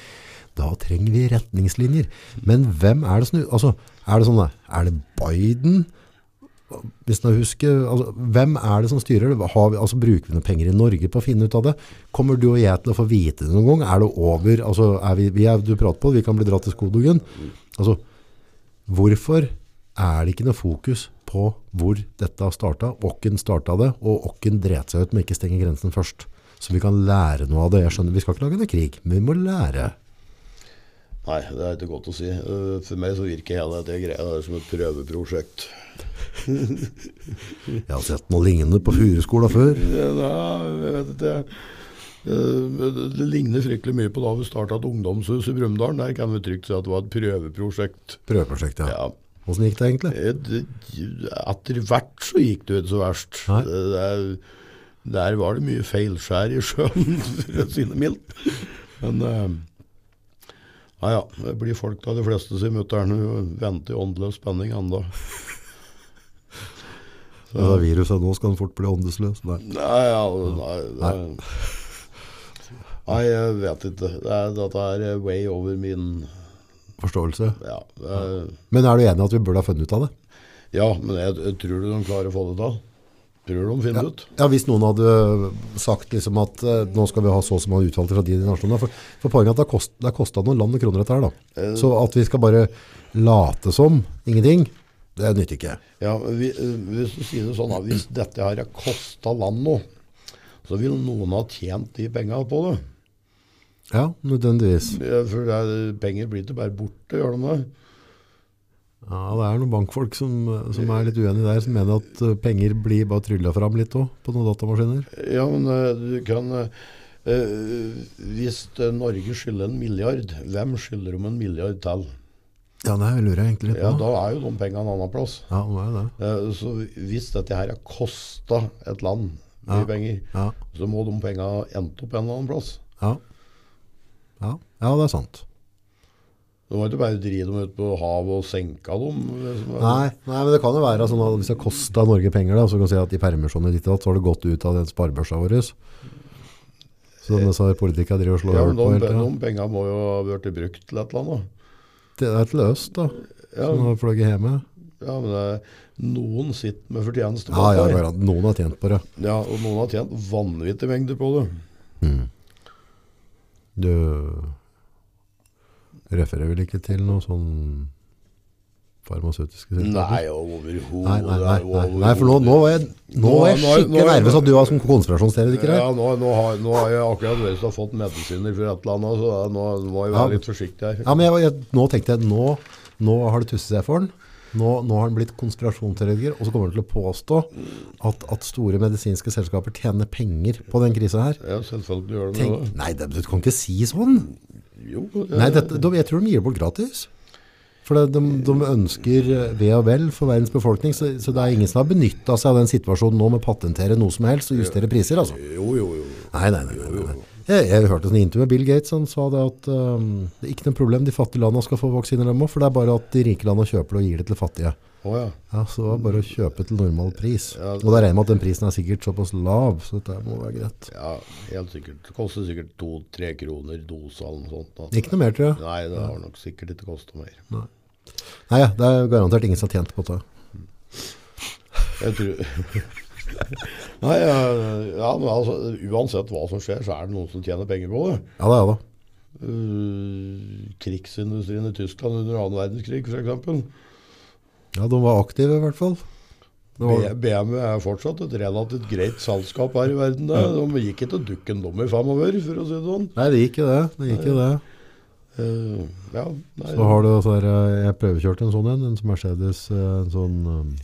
Speaker 1: Da trenger vi retningslinjer. Men hvem er det som altså, Er det sånn da, Er det Biden? Hvis jeg husker, altså, hvem er det som styrer det? Har vi, altså, bruker vi noen penger i Norge på å finne ut av det? Kommer du og jeg til å få vite det noen gang? Er det over? Altså, er vi, vi er, du prater på, vi kan bli dratt til Skodogen. Altså, Hvorfor er det ikke noe fokus på hvor dette starta? Åkken starta det, og Åkken dret seg ut med ikke å stenge grensen først. Så vi kan lære noe av det. Jeg skjønner, Vi skal ikke lage noe krig, men vi må lære.
Speaker 2: Nei, det er ikke godt å si. Eh, For meg så virker hele dette greia der som et prøveprosjekt.
Speaker 1: Jeg har sett noe lignende på Furuskola før.
Speaker 2: Ja, jeg vet ikke. Eh, Det ligner fryktelig mye på da vi starta et ungdomshus i Brumunddal. Der kan vi trygt si at det var et prøveprosjekt.
Speaker 1: Prøveprosjektet, ja.
Speaker 2: Ja.
Speaker 1: Åssen gikk det egentlig?
Speaker 2: Eh, det- Etter hvert så gikk det jo ikke så verst.
Speaker 1: Nei.
Speaker 2: Eh, Der, der var det mye feilskjær i sjøen, for å si det mildt. Men eh, ja, ja. Det blir folk av de fleste som møter her nå. Venter i åndeløs spenning ennå.
Speaker 1: Det er viruset nå, skal den fort bli åndesløs. Nei.
Speaker 2: Nei, ja, nei, det, nei, jeg vet ikke. Det er, dette er way over min
Speaker 1: Forståelse.
Speaker 2: Ja, det er,
Speaker 1: Men er du enig i at vi burde ha funnet ut av det?
Speaker 2: ja men jeg, jeg tror du de klarer å få det til? Tror du de finner det ut?
Speaker 1: Ja, Hvis noen hadde sagt liksom at eh, nå skal vi ha så som han utvalgte fra de nasjonene For, for poenget er at det har kost- det har kosta noen land og kroner dette her, da.
Speaker 2: Eh.
Speaker 1: Så at vi skal bare late som ingenting, det nytter ikke.
Speaker 2: Ja, vi, eh, Hvis du sier det sånn, da, hvis dette her har kosta land nå, så vil noen ha tjent de penga på det.
Speaker 1: Ja, nødvendigvis.
Speaker 2: Ja, For det er, penger blir ikke bare borte, gjør de det?
Speaker 1: Ja, Det er noen bankfolk som, eh, som er litt uenige der, som mener at eh, penger blir bare trylla fram litt òg, på noen datamaskiner.
Speaker 2: Ja, men eh, du kan eh, eh, Hvis eh, Norge skylder en milliard, hvem skylder de en milliard til?
Speaker 1: Ja, det lurer jeg egentlig litt
Speaker 2: Ja,
Speaker 1: på.
Speaker 2: da er jo de pengene en annen plass.
Speaker 1: Ja, det er det.
Speaker 2: Eh, Så hvis dette her har kosta et land mye
Speaker 1: Ja.
Speaker 2: penger,
Speaker 1: Ja,
Speaker 2: så må de pengene endt opp en eller annen plass.
Speaker 1: ja. Ja, ja det er sant.
Speaker 2: Du må ikke bare drive dem ut på havet og senke dem. liksom.
Speaker 1: Nei, nei, men det kan jo være sånn at hvis det kosta Norge penger, da, så kan vi si at i permisjoner ditt og datt, så har det gått ut av den sparebørsa vår. Så disse politikerne driver og slår
Speaker 2: Ja,
Speaker 1: hull
Speaker 2: men
Speaker 1: på
Speaker 2: de,
Speaker 1: hele tida.
Speaker 2: de pengene må jo ha blitt brukt til et eller annet.
Speaker 1: Det er et løst, da,
Speaker 2: Ja,
Speaker 1: som har fløyet hjemme.
Speaker 2: ja, men det, noen sitter med fortjeneste
Speaker 1: Ja,
Speaker 2: bak
Speaker 1: ja,
Speaker 2: der.
Speaker 1: ja, noen har tjent på det.
Speaker 2: Ja, og noen har tjent vanvittige mengder på det.
Speaker 1: Du refererer vel ikke til noe sånn farmasøytiske selskaper?
Speaker 2: Nei, overhodet.
Speaker 1: Nei, nei, nei, nei, nei, for nå, nå var jeg, nå var jeg
Speaker 2: Nå- nå- nå-
Speaker 1: skikkelig nervøs at du var som konspirasjonsteoretiker
Speaker 2: Ja,
Speaker 1: her.
Speaker 2: nå, nå, har, nå har jeg akkurat vært og fått medisiner for et eller annet, så da- nå nå må jeg
Speaker 1: Ja.
Speaker 2: være litt forsiktig her.
Speaker 1: Ja, men jeg, jeg, nå tenkte jeg, nå, nå har det tusset seg for han. Nå, nå har han blitt konspirasjonsteoretiker, og så kommer han til å påstå at, at store medisinske selskaper tjener penger på den krisen her.
Speaker 2: Ja, selvfølgelig gjør de
Speaker 1: Tenk,
Speaker 2: det.
Speaker 1: nei, det, du kan ikke si sånn.
Speaker 2: Jo,
Speaker 1: Nei, dette, de, jeg tror de gir det bort gratis. For det, de, de ønsker ve og vel for verdens befolkning, så, så det er ingen som har benyttet seg av den situasjonen nå med å patentere noe som helst og justere priser, altså.
Speaker 2: jo, jo, jo.
Speaker 1: Nei, nei, nei. nei, nei. Jeg, jeg hørte en intervju med Bill Gates, han sa det at ehm, det er ikke noe problem, de fattige landene skal få vaksiner dem også, for det er bare at de rike landene kjøper det og gir det til fattige.
Speaker 2: Å ja.
Speaker 1: Ja, så det er bare å kjøpe til normal pris.
Speaker 2: Ja.
Speaker 1: Og da regner jeg med at den prisen er sikkert såpass lav, så dette må være greit.
Speaker 2: ja. Helt sikkert. Det koster sikkert to-tre kroner dosa eller noe sånt. da.
Speaker 1: Ikke noe mer, tror jeg.
Speaker 2: Nei, det har nok sikkert ikke kosta mer.
Speaker 1: Nei, ja, det er garantert ingen som har tjent på det.
Speaker 2: Jeg tror Nei, eh, ja, men altså, uansett hva som skjer, så er det noen som tjener penger på det.
Speaker 1: Ja, det er det.
Speaker 2: Eh, krigsindustrien i Tyskland under annen verdenskrig, f.eks.
Speaker 1: Ja, de var aktive i hvert fall. Det var,
Speaker 2: B- BMW er fortsatt et relativt greit selskap her i verden. det. De gikk ikke dukken dum i over, for å si det sånn.
Speaker 1: nei, det gikk jo det. Det gikk jo det.
Speaker 2: Eh, ja, nei,
Speaker 1: Så har du altså her, eh, jeg prøvekjørte en sånn en, en Mercedes, eh, en sånn, ehm,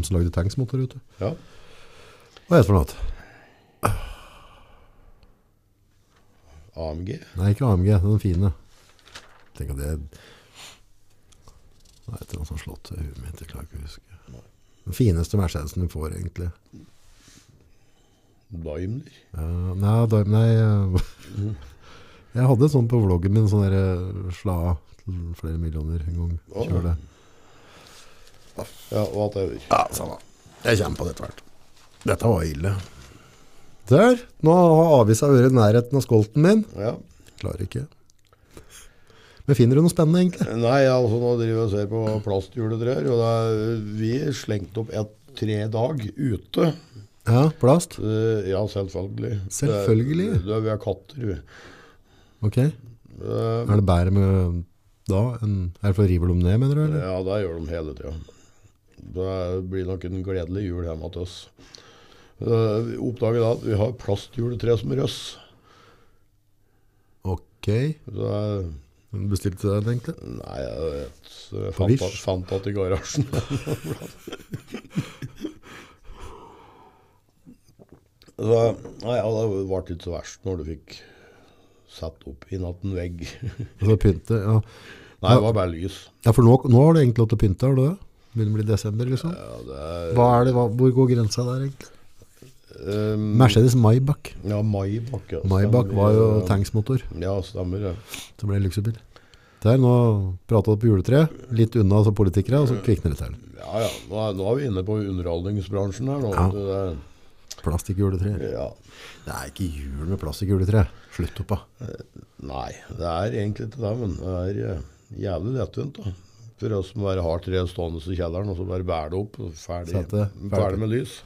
Speaker 1: som lagde tanksmotor ute.
Speaker 2: ja.
Speaker 1: Hva heter det for noe?
Speaker 2: AMG.
Speaker 1: Nei, ikke AMG, den fine. Tenk at det Nei, det er noe som har slått til huet mitt, jeg klarer ikke å huske. Den fineste Mercedesen du får, egentlig.
Speaker 2: Daimler.
Speaker 1: Ja, nei, da, nei eh, Jeg hadde sånn på vloggen min, sånn derre slaa til flere millioner en gang.
Speaker 2: Å.
Speaker 1: Kjør det.
Speaker 2: Ja, whatever.
Speaker 1: Ja, samme. Jeg kommer på det etter hvert. Dette var ille. Der. Nå har avisa vært i nærheten av skolten min.
Speaker 2: Ja.
Speaker 1: Klarer ikke. Men finner du noe spennende, egentlig?
Speaker 2: Nei, altså nå driver jeg og ser på plastjuletrær, og det er, vi slengte opp et tre dag ute.
Speaker 1: Ja, plast?
Speaker 2: Eh, ja, selvfølgelig.
Speaker 1: Selvfølgelig.
Speaker 2: Det, det, vi er katter, vi.
Speaker 1: Ok.
Speaker 2: Eh,
Speaker 1: Er det bedre med da? enn er det for å rive dem ned, mener du? Eller?
Speaker 2: ja, det gjør de hele tida. Det blir nok en gledelig jul hjemme hos oss. Eh, vi oppdager da at vi har plastjuletre som røss.
Speaker 1: Ok.
Speaker 2: Det er
Speaker 1: Hun bestilte den, egentlig.
Speaker 2: Nei, jeg vet jeg
Speaker 1: På
Speaker 2: fant,
Speaker 1: Wish?
Speaker 2: at- fant at i garasjen. så, nei, ja, det ble ikke så verst når du fikk satt opp innatt en vegg.
Speaker 1: Og så pynte, ja.
Speaker 2: Nei, det var bare lys.
Speaker 1: ja for nå, nå har du egentlig lov til å pynte, har du det? Begynner å bli desember, liksom.
Speaker 2: Ja, det er,
Speaker 1: Hva er det, hva, hvor går grensa der, egentlig?
Speaker 2: ehm,
Speaker 1: Mercedes Maybach.
Speaker 2: ja, Maybach. Ja,
Speaker 1: Maybach
Speaker 2: stemmer,
Speaker 1: var jo
Speaker 2: ja.
Speaker 1: tanksmotor,
Speaker 2: Ja, stemmer det.
Speaker 1: så ble det luksusbil. Der, nå pratet du på juletreet, litt unna som politikere, og så kvikner det til.
Speaker 2: Ja, ja. Nå er, nå er vi inne på underholdningsbransjen her nå.
Speaker 1: Ja.
Speaker 2: Det er,
Speaker 1: Plastikkjuletre.
Speaker 2: ja.
Speaker 1: Det er ikke jul med plastikkjuletre. Slutt opp, da.
Speaker 2: Nei, det er egentlig ikke det, men det er eh, jævlig lettvint. da. For oss som bare har tre stående i kjelleren, og så bare bærer det opp. og Ferdig,
Speaker 1: Sett det.
Speaker 2: ferdig.
Speaker 1: Ferdig.
Speaker 2: med lys.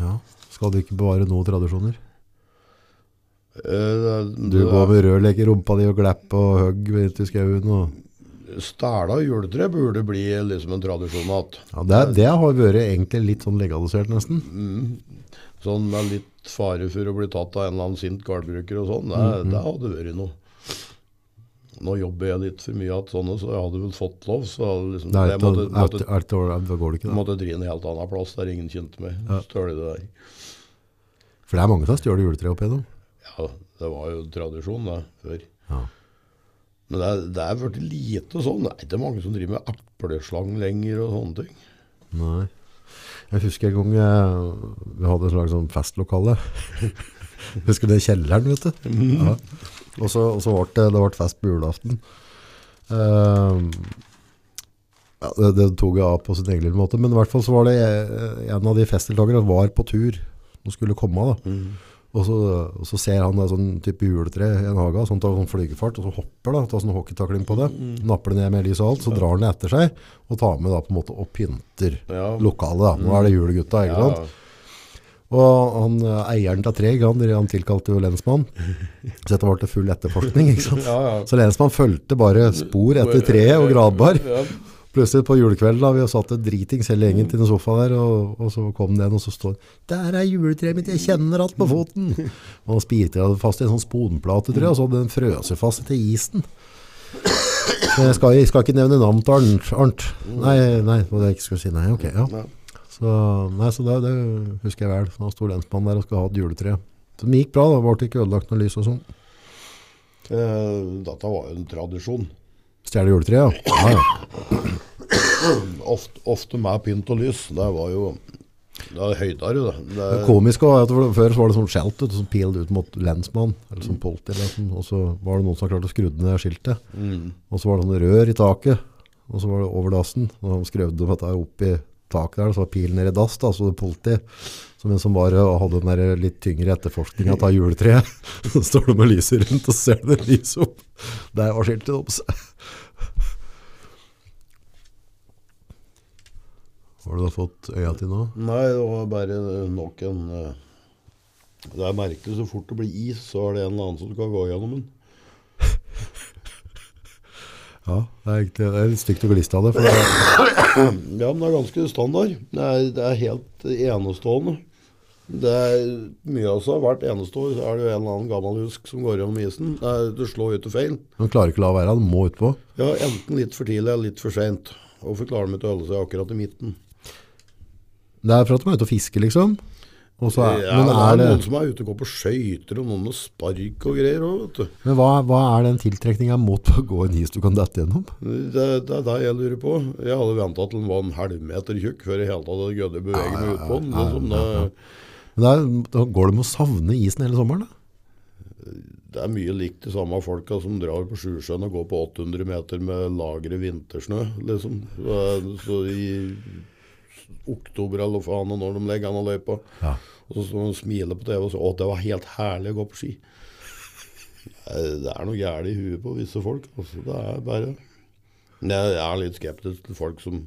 Speaker 1: Ja. Skal du ikke bevare noen tradisjoner?
Speaker 2: Eh,
Speaker 1: Du
Speaker 2: det- det
Speaker 1: går
Speaker 2: er-
Speaker 1: med rørlegg i rumpa di og glapp og høgg ut i skauen. Og...
Speaker 2: Stæla juletre burde bli liksom en tradisjon igjen.
Speaker 1: Ja, det, det har vært egentlig litt sånn legalisert, nesten.
Speaker 2: Sånn med litt fare for å bli tatt av en eller annen sint gårdbruker og sånn. Det,
Speaker 1: Mm,
Speaker 2: det hadde vært noe. Nå jobber jeg litt for mye at sånne, så jeg hadde vel fått lov. Så hadde liksom,
Speaker 1: Det er
Speaker 2: jeg
Speaker 1: et,
Speaker 2: måtte,
Speaker 1: et,
Speaker 2: måtte,
Speaker 1: et år, da går det ikke, da.
Speaker 2: måtte drive en helt annen plass der ingen kjente meg.
Speaker 1: Ja.
Speaker 2: Stølig det der.
Speaker 1: For det er mange som stjåler juletre opp igjennom.
Speaker 2: Ja, det var jo tradisjon det, før.
Speaker 1: Ja.
Speaker 2: Men det, er- det er blitt lite sånn. Det er ikke mange som driver med epleslang lenger og sånne ting.
Speaker 1: Nei. Jeg husker en gang eh, vi hadde en slags sånn festlokale. husker du det kjelleren, vet du? Ja. Og så, og så ble det, det ble fest på julaften. Ehm, ja, det, det tok jeg av på sin egen lille måte, men i hvert fall så var det eh, en av de festdeltakerne var på tur. Nå skulle komme da. Og så, og så ser han da sånn type juletre i en hage, sånn tar sånn flygefart, og så hopper da, tar sånn hockeytakling på det, napper det ned med lys og alt, så drar han det etter seg, og tar med da på en måte og pynter
Speaker 2: Ja.
Speaker 1: lokalet da. Nå er det julegutta, ikke sant? Og han, eh, eieren til Treg, han, han tilkalte jo lensmann, så dette var til full etterforskning, ikke sant?
Speaker 2: Ja, ja.
Speaker 1: Så lensmann følte bare spor etter treet og gradbar.
Speaker 2: Ja.
Speaker 1: Plutselig på julekvelden da, vi satt et dritings hele gjengen til den sofa der, og, og så kom den, og så står han, der er juletreet mitt, jeg kjenner alt på foten. Og han spirte det fast i en sånn sponplate, tror jeg, og så hadde den frøset fast til isen. Så jeg skal, jeg skal ikke nevne navn til Arnt. Arnt. Nei, nei, det var det jeg ikke skulle si. Nei, ok, ja.
Speaker 2: Ja.
Speaker 1: Så, nei, så det, det husker jeg vel. Så han sto lensmannen der og skulle ha et juletre. Så det gikk bra, da ble det ikke ødelagt noe lys og sånn.
Speaker 2: Eh, dette var jo en tradisjon.
Speaker 1: Stjerne juletre, ja. ja, ja.
Speaker 2: Ofte, ofte med pynt og lys. Det var jo det er høydere, det. det
Speaker 1: Det komiske var at for- før så var det sånn skjelt ut, som pilte ut mot lensmann, eller sånn politi, eller sånn, og så var det noen som hadde klart å skru ned skiltet.
Speaker 2: Mm.
Speaker 1: Og så var det sånn rør i taket, og så var det over dassen, og han skrøvde om dette opp i taket der, så var pilen ned i dass, da, så det politi, som en som bare hadde den der litt tyngre etterforskningen av juletreet, så står det med lyset rundt, og så ser det lyset opp. Der var skiltet opp. Hva har du da fått øya til nå?
Speaker 2: Nei, det var bare nok en eh, Det er merkelig, så fort det blir is, så er det en eller annen som skal gå gjennom den.
Speaker 1: Ja, det er, egentlig, det er litt stygt å gliste av det, for det er,
Speaker 2: Ja, men det er ganske standard. Det er, det er helt enestående. Det er mye av seg. Hvert eneste år så er det jo en eller annen gammel husk som går gjennom isen. Det, er, det slår ut og feil.
Speaker 1: man klarer ikke å la være, han må utpå.
Speaker 2: Ja, enten litt for tidlig eller litt for seint. Hvorfor klarer de ikke å holde seg akkurat i midten?
Speaker 1: Det er for at man er ute og fisker, liksom. Og så er,
Speaker 2: ja,
Speaker 1: men, er
Speaker 2: det
Speaker 1: det,
Speaker 2: er noen som er ute og går på skøyter, og noen med spark og greier òg, vet du.
Speaker 1: men hva, hva er den tiltrekninga mot å gå en is du kan dette gjennom?
Speaker 2: Det det er det jeg lurer på. Jeg hadde venta til den var en halvmeter tjukk før jeg i hele tatt hadde gødd å bevege meg ut på den. Liksom, det,
Speaker 1: Men det er, da går det med å savne isen hele sommeren, da.
Speaker 2: det er mye likt de samme folka som drar på Sjusjøen og går på 800 meter med lagre vintersnø, liksom. Så, så i oktober eller hva faen og når de legger an og løypa.
Speaker 1: Ja.
Speaker 2: Og så står de og smiler på TV og sier at det var helt herlig å gå på ski. Eh, Det er noe gærent i huet på visse folk. Altså, det er bare Men Jeg jeg er litt skeptisk til folk som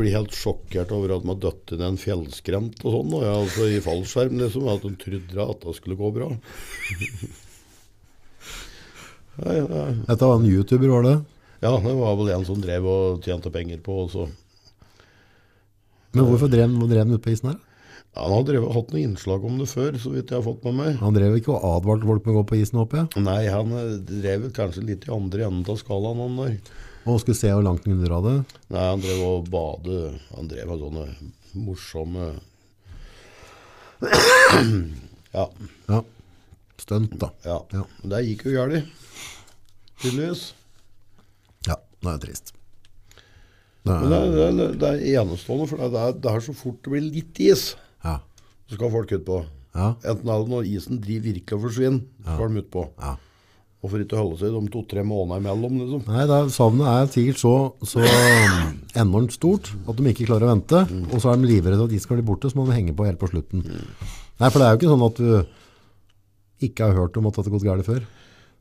Speaker 2: blir helt sjokkert over at de har dødd ned en fjellskrent og sånn. Og jeg, altså, I fallskjerm, liksom. At de trodde at det skulle gå bra. Nei, nei.
Speaker 1: Dette var en YouTuber, var det?
Speaker 2: Ja, det var vel en som drev og tjente penger på, og så
Speaker 1: Men hvorfor drev, hvor drev den ut på isen her? da?
Speaker 2: Ja, han har drevet, hatt noen innslag om det før, så vidt jeg har fått med meg.
Speaker 1: Han drev ikke og advarte folk med å gå på isen, håper jeg.
Speaker 2: Nei, han eh, drev kanskje litt i andre enden av skalaen, han der.
Speaker 1: Og skulle se hvor langt han kunne dra det.
Speaker 2: Nei, han drev og bade. Han drev med sånne morsomme Ja.
Speaker 1: Ja. Stunt, da.
Speaker 2: ja.
Speaker 1: Ja.
Speaker 2: Men det gikk jo galt, tydeligvis.
Speaker 1: Ja, det er trist. Det
Speaker 2: Men det,
Speaker 1: er,
Speaker 2: er- det, er- det er enestående, for det er, det er så fort det blir litt is,
Speaker 1: ja.
Speaker 2: så skal folk utpå.
Speaker 1: Ja.
Speaker 2: Enten er det når isen driver virkelig og forsvinner, så skal de utpå.
Speaker 1: ja.
Speaker 2: Og for ikke å holde seg de to-tre måneder imellom, liksom.
Speaker 1: Nei, det er, savnet er sikkert så, så um, enormt stort at de ikke klarer å vente, og så er de livredde at de skal bli borte, så må de henge på helt på slutten. Nei, for det er jo ikke sånn at du ikke har hørt om at det har gått galt før.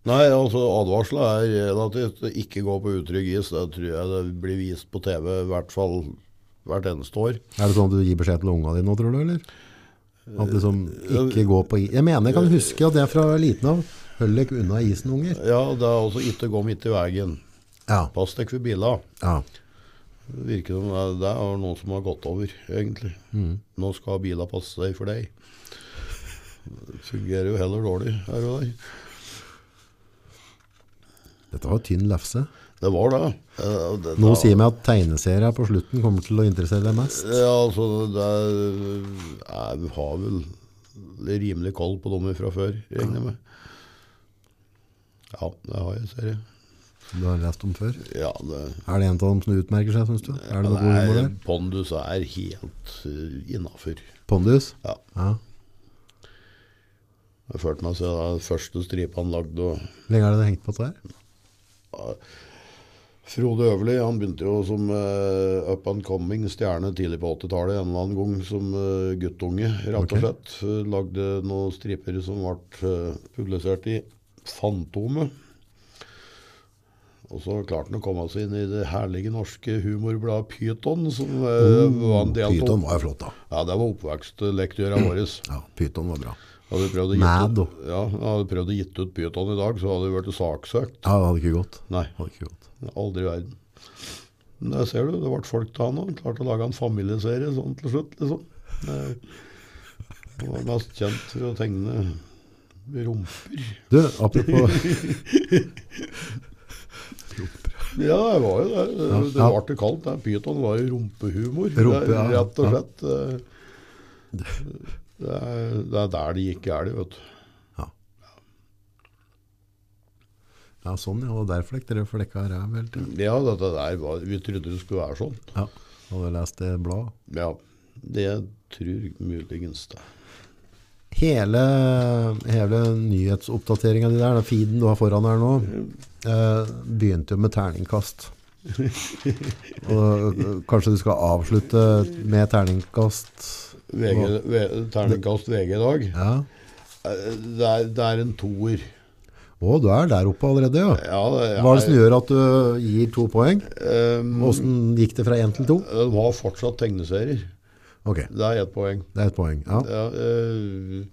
Speaker 2: Nei, altså advarsla er relativt ikke gå på utrygg is. Det tror jeg det blir vist på TV i hvert fall hvert eneste år.
Speaker 1: Er det sånn at du gir beskjed til unga dine nå, tror du, eller? At liksom ikke gå på is. Jeg mener, jeg kan huske at jeg fra liten av holder dere unna isen, unger.
Speaker 2: Ja, det er altså ikke gå midt i veien.
Speaker 1: Ja,
Speaker 2: Pass deg for biler.
Speaker 1: ja.
Speaker 2: Det virker som det er- det er noen som har gått over, egentlig. Nå skal biler passe seg for deg. Det fungerer jo heller dårlig her og der.
Speaker 1: Dette var tynn lefse.
Speaker 2: Det var det. Eh, det-
Speaker 1: Nå
Speaker 2: det-
Speaker 1: sier meg at tegneserier på slutten kommer til å interessere deg mest.
Speaker 2: Ja, altså, det er, jeg har vel rimelig koll på dem fra før, regner jeg med. Ja, det har jeg, ser jeg.
Speaker 1: som Du har lest om før.
Speaker 2: Ja, det,
Speaker 1: Er det en av dem som utmerker seg, synes du? Er det noe god humor der?
Speaker 2: Pondus er helt uh, innafor.
Speaker 1: Pondus?
Speaker 2: Ja.
Speaker 1: Ja.
Speaker 2: Jeg følte meg siden den første stripa han lagde. Og,
Speaker 1: Hvor lenge er det det hengt på dette her?
Speaker 2: Frode Øverli han begynte jo som eh, up and coming stjerne tidlig på 80-tallet en eller annen gang som eh, guttunge,
Speaker 1: Ok.
Speaker 2: rett og slett. Eh, lagde noen striper som ble eh, publisert i Fantomet. Og så klarte han å komme seg inn i det herlige norske humorbladet Pyton, som
Speaker 1: Oh,
Speaker 2: eh, var en del
Speaker 1: Mm. Pyton
Speaker 2: av
Speaker 1: var jo flott da.
Speaker 2: Ja, det var oppvekstlektøra vår.
Speaker 1: Ja, Pyton var bra.
Speaker 2: Hadde vi prøvd å
Speaker 1: Mad,
Speaker 2: gitt
Speaker 1: da.
Speaker 2: ut, ja, hadde vi prøvd å gitt ut Pyton i dag, så hadde vi blitt saksøkt.
Speaker 1: Ja, det hadde ikke gått.
Speaker 2: Nei.
Speaker 1: Det hadde ikke gått.
Speaker 2: Aldri i verden. Men der ser du, det ble folk til han òg. Klarte å lage en familieserie sånn til slutt, liksom. Eh, Han var mest kjent for å tegne rumper.
Speaker 1: Du, apropos...
Speaker 2: Ja, det var jo det. Det det
Speaker 1: Ja.
Speaker 2: ble det kalt. det. Pyton var jo rumpehumor.
Speaker 1: Rumpe,
Speaker 2: det,
Speaker 1: ja,
Speaker 2: er
Speaker 1: ja.
Speaker 2: Rett og slett. eh, Det er, det er der det gikk galt, vet du.
Speaker 1: Ja. Ja, sånn ja, og derfor lekte dere flekka ræv hele tiden.
Speaker 2: Ja, dette der var Vi trodde det skulle være sånn.
Speaker 1: Ja, hadde jeg lest det blad.
Speaker 2: Ja. Det tror muligens det.
Speaker 1: Hele, hele nyhetsoppdateringen din der, den feeden du har foran her nå, eh, begynte jo med terningkast. Og, eh, kanskje du skal avslutte med terningkast?
Speaker 2: VG, V- terningkast VG i dag.
Speaker 1: Ja.
Speaker 2: Eh, Det er, det er en toer.
Speaker 1: Å, du er der oppe allerede, ja.
Speaker 2: Ja, det er,
Speaker 1: Hva er det som gjør at du gir to poeng?
Speaker 2: Ehm,
Speaker 1: Hvordan gikk det fra én til to?
Speaker 2: de har fortsatt tegneserier.
Speaker 1: Ok,
Speaker 2: Det er ett poeng.
Speaker 1: det er et poeng. Ja.
Speaker 2: Ja, eh,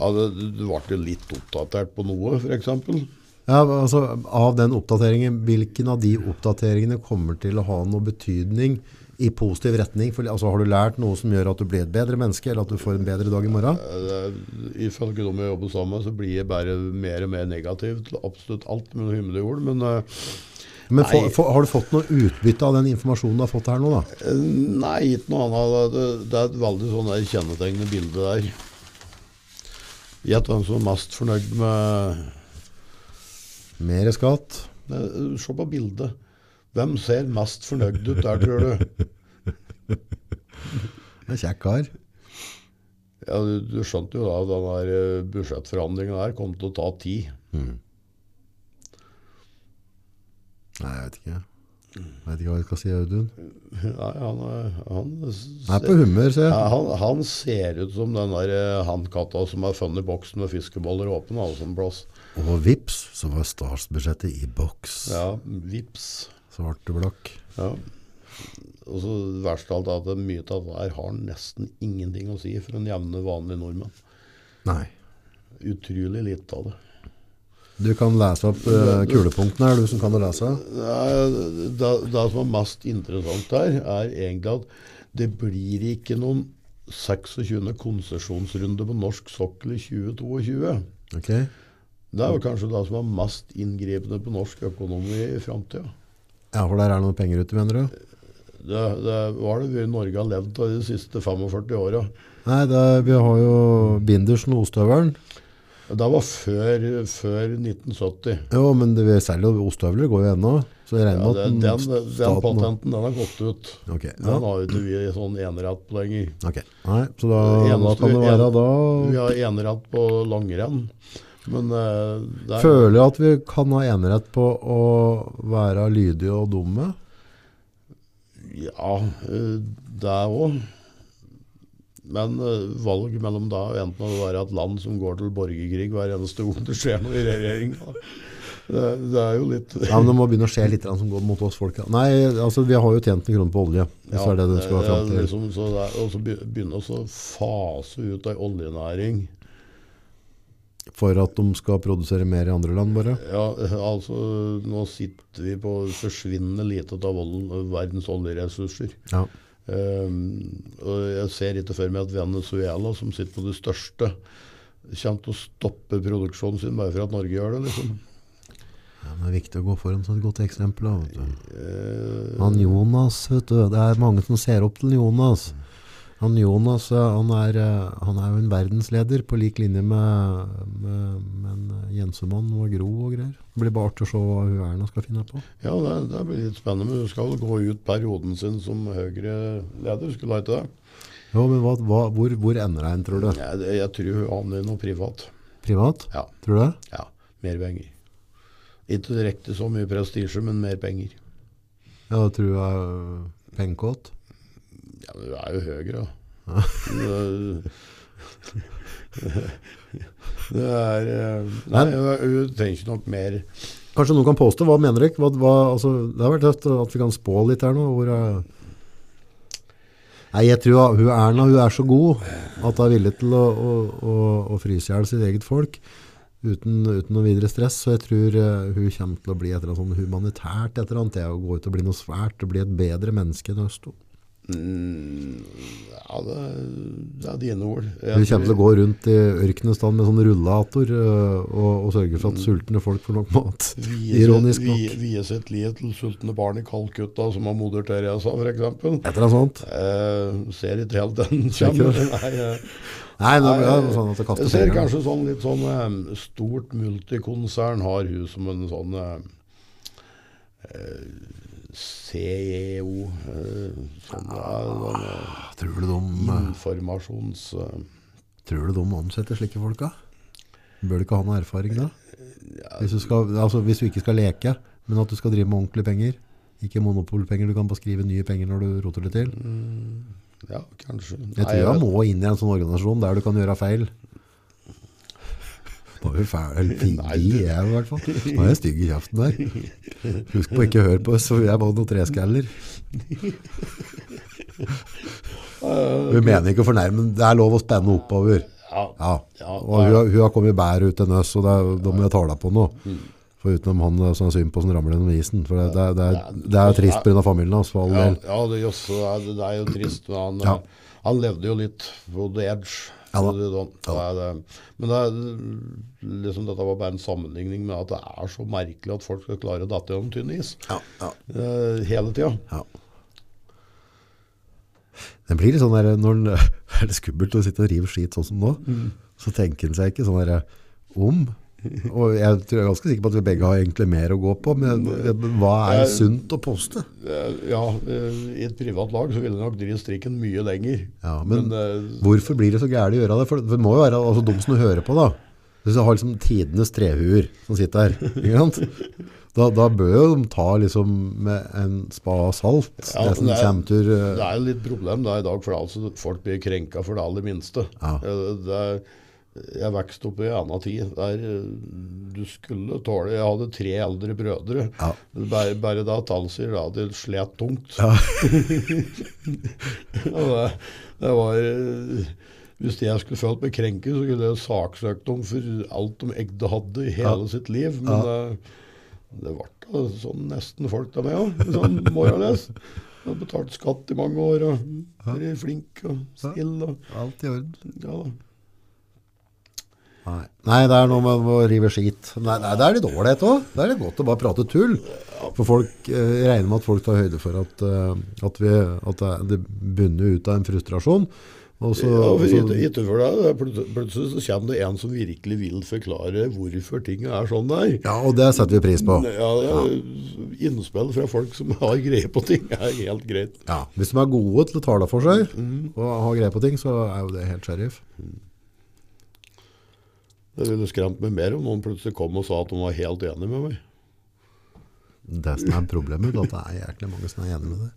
Speaker 2: ja, det, det ble jo litt oppdatert på noe, f.eks.
Speaker 1: Ja, altså, av den oppdateringen, hvilken av de oppdateringene kommer til å ha noe betydning i positiv retning? For, altså, har du lært noe som gjør at du blir et bedre menneske, eller at du får en bedre dag i morgen?
Speaker 2: Ifølge dem jeg jobber sammen med, så blir jeg bare mer og mer negativ til absolutt alt mellom himmel og jord. Men eh,
Speaker 1: Men få-
Speaker 2: Nei.
Speaker 1: få- har du fått noe utbytte av den informasjonen du har fått her nå, da?
Speaker 2: eh, nei, ikke noe annet. Det, det er et veldig sånn der kjennetegnende bilde der. Gjett hvem som er mest fornøyd med
Speaker 1: Mer skatt?
Speaker 2: Eh, Se på bildet. Hvem ser mest fornøyd ut der, tror du?
Speaker 1: En Kjekk kar.
Speaker 2: Ja, du, du skjønte jo da at den der eh, budsjettforhandlingen der kom til å ta tid.
Speaker 1: Nei, jeg vet ikke. Jeg vet ikke hva jeg skal si, Audun.
Speaker 2: Nei, han, eh, han, s-
Speaker 1: Jeg er på humør, ser
Speaker 2: Ja,
Speaker 1: jeg.
Speaker 2: han, han ser ut som den der eh, handkatta som er funnet i boksen med fiskeboller åpne. Altså en plass.
Speaker 1: Og vips, så var statsbudsjettet i boks.
Speaker 2: Ja, vips.
Speaker 1: Svart og blakk.
Speaker 2: Ja. Og så verst av alt er at det er mye av det her har nesten ingenting å si for en jevne, vanlig nordmann.
Speaker 1: Nei.
Speaker 2: Utrolig lite av det.
Speaker 1: Du kan lese opp eh, kulepunktene her, du som kan å lese.
Speaker 2: Nei, det, det som er mest interessant der, er egentlig at det blir ikke noen 26. konsesjonsrunde på norsk sokkel i 2022.
Speaker 1: Ok.
Speaker 2: Det er jo kanskje det som er mest inngripende på norsk økonomi i framtida.
Speaker 1: Ja, for der er det noen penger ute, mener du?
Speaker 2: Det, det var det vi i Norge har levd av de siste 45 åra.
Speaker 1: Nei, det, vi har jo bindersen og ostehøvelen.
Speaker 2: Det var før, før 1970.
Speaker 1: Jo, men det, vi selger jo ostehøvler, går jo ennå. Så jeg regner
Speaker 2: Ja,
Speaker 1: med
Speaker 2: det, den,
Speaker 1: at
Speaker 2: den, patenten den har gått ut.
Speaker 1: Ok, ja.
Speaker 2: Den har jo ikke vi sånn enerett på lenger.
Speaker 1: Ok. Nei, så da,
Speaker 2: Det eneste
Speaker 1: da kan det
Speaker 2: vi-
Speaker 1: være da
Speaker 2: Vi har enerett på langrenn. Men eh, det er,
Speaker 1: Føler at vi kan ha enerett på å være lydige og dumme.
Speaker 2: Ja, eh, det òg. Men eh, valg mellom da og enten å være et land som går til borgerkrig hver eneste gang det skjer noe i regjeringa det, det er jo litt
Speaker 1: Ja, men Det må begynne å skje litt grann som går mot oss folk. ja. Nei, altså vi har jo tjent en krone på olje. Hvis det er det du skal ha fram
Speaker 2: det er
Speaker 1: til.
Speaker 2: liksom så det er- Og så be- begynne å så fase ut ei oljenæring.
Speaker 1: For at de skal produsere mer i andre land, bare.
Speaker 2: Ja, altså Nå sitter vi på forsvinnende lite av oljen- verdens oljeressurser.
Speaker 1: Ja.
Speaker 2: Ehm, og jeg ser ikke for meg at Venezuela, som sitter på det største, kommer til å stoppe produksjonen sin bare for at Norge gjør det. liksom.
Speaker 1: Ja, men Det er viktig å gå foran som et godt eksempel. Da, vet du.
Speaker 2: Eh,
Speaker 1: Han Jonas, vet du. Det er mange som ser opp til Jonas. Han Jonas eh, han er, eh, han er jo en verdensleder på lik linje med, med, med en eh, Jensemann og Gro og greier. Det blir bare artig å se hva hun Erna skal finne på.
Speaker 2: ja, det, det blir litt spennende. Men hun skal vel gå ut perioden sin som Høyre-leder, skulle hun ikke det?
Speaker 1: Jo, men hva, hva, hvor, hvor ender hun, tror du?
Speaker 2: Jeg, jeg tror hun havner i noe privat.
Speaker 1: Privat?
Speaker 2: Ja.
Speaker 1: Tror du det?
Speaker 2: ja. Mer penger. Ikke direkte så mye prestisje, men mer penger.
Speaker 1: Ja, det tror jeg eh, er pengekåt.
Speaker 2: Ja, men Hun er jo Høyre, da.
Speaker 1: Ja.
Speaker 2: Det- Det er eh, Nei, hun hun trenger ikke nok mer
Speaker 1: Kanskje noen kan påstå, hva mener dere? Hva, hva, altså, det har vært tøft at vi kan spå litt her nå. Hvor, eh, Nei, jeg tror at hun Erna hun er så god at hun er villig til å, å, å, å fryse i hjel sitt eget folk uten, uten noe videre stress. Så jeg tror eh, hun kommer til å bli et eller annet sånn humanitært et eller annet. Det å gå ut og bli noe svært og bli et bedre menneske enn Østo.
Speaker 2: Mm, Ja, det, det er dine ord. Jeg
Speaker 1: Hun kommer til å
Speaker 2: tror-
Speaker 1: gå rundt i ørkenen stand med sånn rullator eh, og, og sørge for at
Speaker 2: Mm.
Speaker 1: sultne folk får nok mat.
Speaker 2: vie sitt-
Speaker 1: Ironisk
Speaker 2: vie-
Speaker 1: nok.
Speaker 2: Vie sitt liv til sultne barn i Calcutta, som har moder Teresa, f.eks.
Speaker 1: Et eller annet sånt.
Speaker 2: Eh, ser ikke helt den
Speaker 1: Ser ikke
Speaker 2: kommer.
Speaker 1: det.
Speaker 2: Nei, eh,
Speaker 1: Nei, det
Speaker 2: nei,
Speaker 1: blir sånn at det
Speaker 2: jeg
Speaker 1: kaster
Speaker 2: ser
Speaker 1: penger.
Speaker 2: kanskje sånn litt sånn eh, Stort multikonsern har hun som en sånn eh, eh, CEO eh, Sånn eh,
Speaker 1: Tror du de,
Speaker 2: sånn, eh,
Speaker 1: eh,
Speaker 2: informasjons... eh,
Speaker 1: tror du de ansetter slike folka? Bør du ikke ha noe erfaring da?
Speaker 2: ja,
Speaker 1: Hvis du, skal, altså, hvis du ikke skal leke, men at du skal drive med ordentlige penger. Ikke monopolpenger, du kan bare skrive nye penger når du roter det til.
Speaker 2: Mm, ja, kanskje.
Speaker 1: Jeg tror jeg må inn i en sånn organisasjon der du kan gjøre feil. Da er vi fæle.
Speaker 2: Nei,
Speaker 1: Fine
Speaker 2: du-
Speaker 1: jeg i hvert fall. Nå er jeg stygg i kjeften der. Husk på å ikke høre på oss, for vi er bare noen treskaller.
Speaker 2: Ah,
Speaker 1: Vi mener ikke å fornærme, men det er lov å spenne oppover.
Speaker 2: Ja,
Speaker 1: Ja.
Speaker 2: Ja,
Speaker 1: Og hun, har- hun har kommet bedre ut enn oss, og det, er- da må jeg tale på noe. For utenom han eh, som har syn på som ramler gjennom isen. For det, det, er- det, er, det er jo trist på grunn av familien hans, for all
Speaker 2: ja,
Speaker 1: del.
Speaker 2: ja det, er også, det er- det er jo trist. Men han,
Speaker 1: Ja.
Speaker 2: eh, han levde jo litt på the edge.
Speaker 1: Ja da.
Speaker 2: for å si det sånn. Det
Speaker 1: Ja
Speaker 2: er, det. Men det er, liksom, dette var bare en sammenligning med at det er så merkelig at folk skal klare å dette gjennom tynn is
Speaker 1: Ja, ja.
Speaker 2: eh, hele tida.
Speaker 1: Ja. Den blir litt sånn der, når den er det skummelt å sitte og rive skit sånn som nå, så tenker den seg ikke sånn der om. Og jeg tror jeg er ganske sikker på at vi begge har egentlig mer å gå på, men hva er sunt å poste?
Speaker 2: Eh, ja, eh, i et privat lag så ville nok drive strikken mye lenger.
Speaker 1: Ja, men
Speaker 2: eh,
Speaker 1: hvorfor blir det så gærlig å gjøre det? For det må jo være altså, de som hører på da. Hvis du har liksom tidenes trehuer som sitter her, ikke sant? Da, da bør jo de ta liksom med en spa og salt,
Speaker 2: Ja,
Speaker 1: nesten
Speaker 2: det er-
Speaker 1: kjemtur. eh,
Speaker 2: Det er jo litt problem da i dag, for altså, folk blir krenka for det aller minste.
Speaker 1: Ja.
Speaker 2: Eh, Det er, jeg vokste opp i en annen tid der eh, du skulle tåle Jeg hadde tre eldre brødre.
Speaker 1: Ja.
Speaker 2: Bare, bare da Talsier da, det slet tungt.
Speaker 1: Ja.
Speaker 2: Og det, det var eh, Hvis jeg skulle følt meg krenket, så skulle jeg saksøkt dem for alt de egentlig hadde i hele sitt liv. Men
Speaker 1: Ja.
Speaker 2: eh, det ble av sånn nesten folk av meg òg. Sånn morales. Jeg har betalt skatt i mange år og vært flink og snill. Og,
Speaker 1: Alt i orden.
Speaker 2: ja, da.
Speaker 1: Nei. nei, det er noe med å rive skit. Nei, nei det er litt ålreit òg. Det er litt godt å bare prate tull. For folk eh, jeg regner med at folk tar høyde for at, eh, at, vi, at det- det bunner ut av en frustrasjon. Og så,
Speaker 2: ja, for
Speaker 1: så-
Speaker 2: ikke, ikke for deg, det er plut- Plutselig så kommer det en som virkelig vil forklare hvorfor ting er sånn det er.
Speaker 1: ja, og det setter vi pris på.
Speaker 2: Ja, ja, innspill fra folk som har greie på ting, er helt greit.
Speaker 1: Ja, Hvis de er gode til å tale for seg og har greie på ting, så er jo det helt sheriff.
Speaker 2: Det ville skremt meg mer om noen plutselig kom og sa at de var helt enig med meg.
Speaker 1: Det som er problemet, er at det er jæklig mange som er enige med det.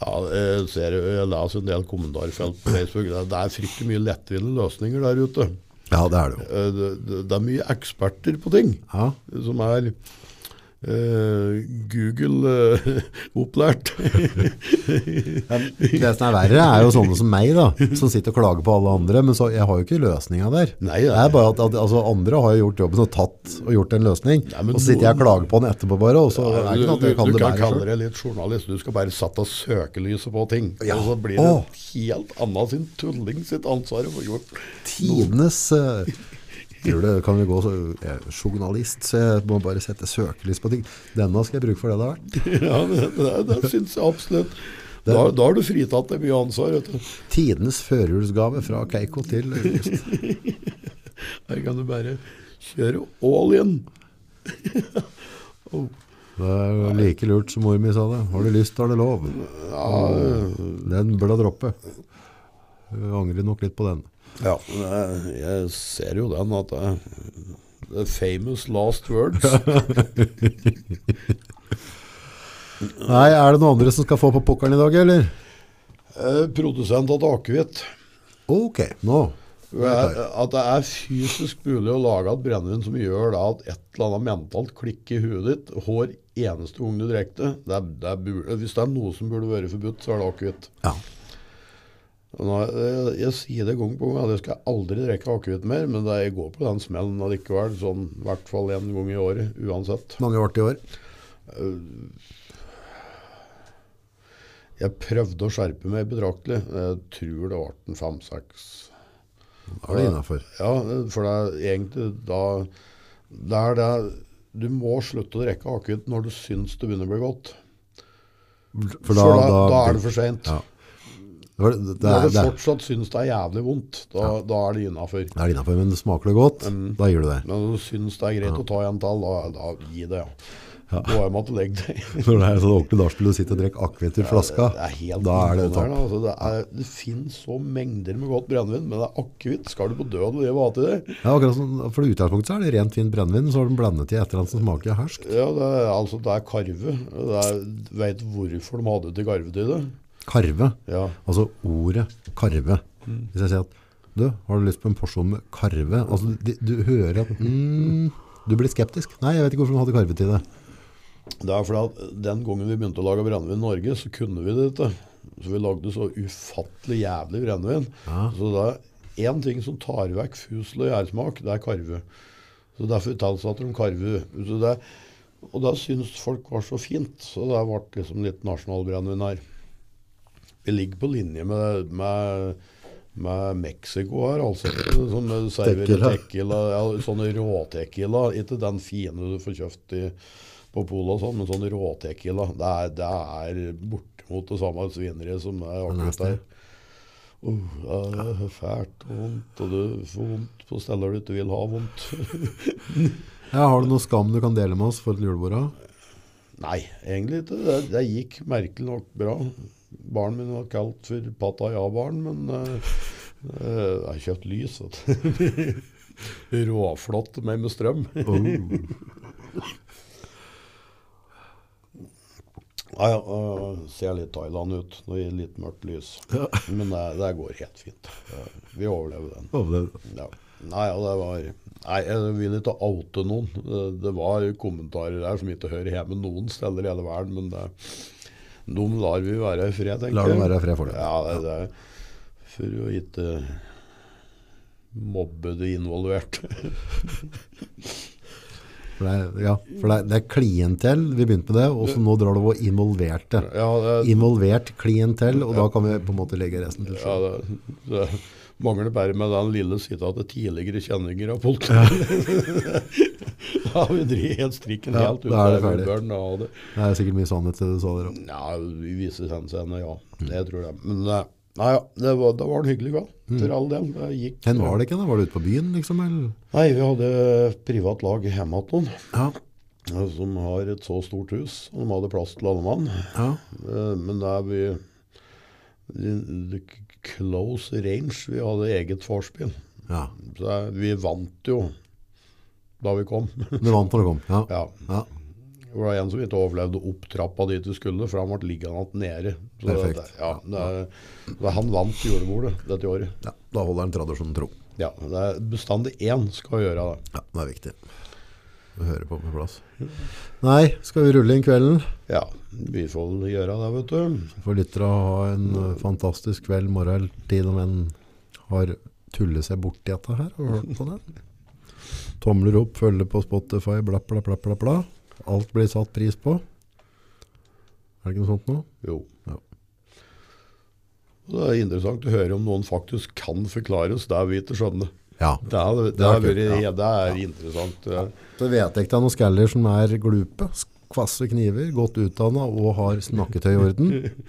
Speaker 2: Ja, jeg, ser, jo- jeg leser en del kommentarfelt på Facebook. Det er- Det er fryktelig mye lettvinte løsninger der ute.
Speaker 1: Ja, det er det jo.
Speaker 2: Eh, Det, det, det er mye eksperter på ting.
Speaker 1: Ja,
Speaker 2: som er eh, Google-opplært.
Speaker 1: Det som er verre, er jo sånne som meg, da, som sitter og klager på alle andre. Men så, jeg har jo ikke løsninga der.
Speaker 2: Nei,
Speaker 1: det er bare at, at altså, Andre har jo gjort jobben og tatt og gjort en løsning.
Speaker 2: Nei, men
Speaker 1: og så sitter jeg og klager på den etterpå, bare. Og så er det
Speaker 2: du,
Speaker 1: ikke noe at
Speaker 2: du,
Speaker 1: jeg kan det altså.
Speaker 2: du kan
Speaker 1: bedre
Speaker 2: kalle
Speaker 1: selv.
Speaker 2: deg litt journalist. Du skal bare sette søkelyset på ting.
Speaker 1: Ja.
Speaker 2: Og så blir det
Speaker 1: Åh.
Speaker 2: helt annet sin tulling sitt ansvar å få gjort.
Speaker 1: Tidenes eh, Tror du kan vi gå så, jeg er journalist, så jeg må bare sette søkelys på ting. Denne skal jeg bruke for det det har vært.
Speaker 2: ja, det, det, det syns jeg absolutt. Da, da har du fritatt deg mye ansvar. Vet du.
Speaker 1: Tidenes førjulsgave fra Keiko til August.
Speaker 2: Her kan du bare kjøre all in.
Speaker 1: Det er jo like lurt som mor mi sa det. Har du lyst, har du lov. Den bør du droppe. Jeg angrer nok litt på den.
Speaker 2: Ja, jeg, jeg ser jo den at det, The famous last words.
Speaker 1: Nei, er det noen andre som skal få på pokkeren i dag, eller?
Speaker 2: Eh, Produsent av akevitt.
Speaker 1: Ok, nå.
Speaker 2: Det er- At det er fysisk mulig å lage et brennevin som gjør da at et eller annet mentalt klikker i huet ditt hver eneste gang du drikker det. det, er- det er burde, hvis det er noe som burde vært forbudt, så er det akevitt.
Speaker 1: Ja.
Speaker 2: Og nå, Jeg, jeg sier det gang på gang at jeg skal aldri drikke akevitt mer, men det, jeg går på den smellen allikevel. Sånn i hvert fall én gang i året uansett.
Speaker 1: Mange ble det i år.
Speaker 2: Jeg prøvde å skjerpe meg betraktelig. Jeg tror det ble en fem-seks
Speaker 1: Da er det innafor.
Speaker 2: Ja, for det er egentlig da Det er det Du må slutte å drikke akevitt når du syns det begynner å bli godt.
Speaker 1: For da,
Speaker 2: da, da er det for seint.
Speaker 1: Ja. Det var- det- det
Speaker 2: Når
Speaker 1: er-
Speaker 2: du
Speaker 1: det er-
Speaker 2: fortsatt syns det er jævlig vondt, da, da er det innafor.
Speaker 1: det er innafor, men det smaker det godt,
Speaker 2: Mm.
Speaker 1: da gjør du det.
Speaker 2: Men når du syns det er greit å ta en til, da, da gi det, ja. Gå hjem og legg deg.
Speaker 1: Når det er sånn ordentlig nachspiel og sitter og drikker akevitt i flaska,
Speaker 2: Det er helt
Speaker 1: da er det
Speaker 2: imponerende,
Speaker 1: topp.
Speaker 2: Altså, det, er, det finnes så mengder med godt brennevin, men det er akevitt. Skal du på døden leve av til det?
Speaker 1: Ja, akkurat sånn, for i utgangspunktet så er det rent fint brennevin, så har de blandet i et eller annet som smaker hersk.
Speaker 2: Ja, det er, altså, det er karve. Det er, vet hvorfor de hadde til karve til det?
Speaker 1: Karve.
Speaker 2: Ja.
Speaker 1: Altså ordet karve. Hvis jeg sier at du, har du lyst på en porsjon med karve? Altså, du, du hører at mm, Du blir skeptisk. Nei, jeg vet ikke hvorfor de hadde karve til det.
Speaker 2: Det er fordi at den gangen vi begynte å lage brennevin i Norge, så kunne vi det ikke. Så vi lagde så ufattelig jævlig brennevin.
Speaker 1: Ja.
Speaker 2: Så det er én ting som tar vekk fusel og gjærsmak, det er karve. Så derfor tilsatte de karve. Så det, og det syns folk var så fint, så det ble liksom litt nasjonalbrennevin her. Vi ligger på linje med, med, med Mexico her, altså. Som serverer
Speaker 1: Tequila.
Speaker 2: tequila, ja, sånne råtequila. Ikke den fine du får kjøpt i på Polet og sånn, men sånn råtequila, det er, det er bortimot det samme svineriet som er akkurat der. Uh, det er fælt og vondt, og du får vondt på steder du ikke vil ha vondt.
Speaker 1: Ja, har du noe skam du kan dele med oss for et julebord? da?
Speaker 2: Nei, egentlig ikke. Det, det gikk merkelig nok bra. Barnet mitt var kalt for Pattaya-barn, men eh, eh, jeg har kjøpt lys. vet du. Råflott meg med strøm. Ja, ja, øh, ser litt Thailand ut når det gir litt mørkt lys. Men det, det går helt fint. Eh, Vi overlever den.
Speaker 1: Overlevd.
Speaker 2: Ja. Nei, ja, det var Nei, jeg vil ikke oute noen. Det, det var kommentarer der som ikke hører hjemme noen steder i hele verden, men det, de lar vi være i fred, tenker
Speaker 1: Lar dem være i fred for det.
Speaker 2: Ja, det, det er for å ikke mobbe de involverte.
Speaker 1: For det, er- ja, for det, er- det er klientell, vi begynte med det, og så nå drar du på involverte.
Speaker 2: Ja, det,
Speaker 1: Involvert klientell, og da kan vi på en måte legge resten til
Speaker 2: ja,
Speaker 1: slutt.
Speaker 2: det, det mangler bare med den lille sitatet 'tidligere kjenninger av politiet'. da har vi drevet helt strikken
Speaker 1: Ja,
Speaker 2: helt ut
Speaker 1: da er det
Speaker 2: der vi
Speaker 1: ferdig.
Speaker 2: bør den ha det.
Speaker 1: Det er sikkert mye sannhet til det du sa der òg.
Speaker 2: Ja, i visse henseende, ja. Det tror jeg. Men eh, nei, ja, det var, det var en hyggelig kveld, for all del. Det gikk
Speaker 1: Hvor var det ikke? da? Var det ute på byen, liksom? Eller?
Speaker 2: Nei, vi hadde privat lag hjemme hos noen
Speaker 1: Ja,
Speaker 2: eh, som har et så stort hus. Og de hadde plass til alle mann.
Speaker 1: ja.
Speaker 2: Eh, Men da er vi the- the close range. Vi hadde eget vorspiel.
Speaker 1: ja.
Speaker 2: Så jeg- vi vant jo da vi kom.
Speaker 1: Du vant når du kom? Ja.
Speaker 2: ja.
Speaker 1: ja.
Speaker 2: Det var en som ikke overlevde opp trappa dit vi skulle, for han ble liggende igjen nede. Så
Speaker 1: Perfekt.
Speaker 2: Det, ja, det, er- det, han vant julebordet dette året.
Speaker 1: ja. Da holder den tradisjonen tro.
Speaker 2: Ja, det er Bestandig én skal gjøre det.
Speaker 1: Ja, det er viktig. Du hører på på plass. Nei, skal vi rulle inn kvelden?
Speaker 2: Ja, vi får vel gjøre det, vet du.
Speaker 1: For lyttere å ha en eh, fantastisk kveld, morgen eller tid om en har tullet seg borti dette her. Har du hørt på det? Tomler opp, følger på Spotify, bla bla bla bla bla. Alt blir satt pris på. Er det ikke noe sånt nå?
Speaker 2: Jo.
Speaker 1: Ja.
Speaker 2: Og Det er interessant å høre om noen faktisk kan forklares det vi ikke skjønner.
Speaker 1: Ja.
Speaker 2: Det, er, det,
Speaker 1: Det er
Speaker 2: har
Speaker 1: kult,
Speaker 2: vært-
Speaker 1: ja.
Speaker 2: ja, det er interessant.
Speaker 1: Så vet jeg ikke det er noen skaller som er glupe, kvasse kniver, godt utdannet og har snakketøy i orden.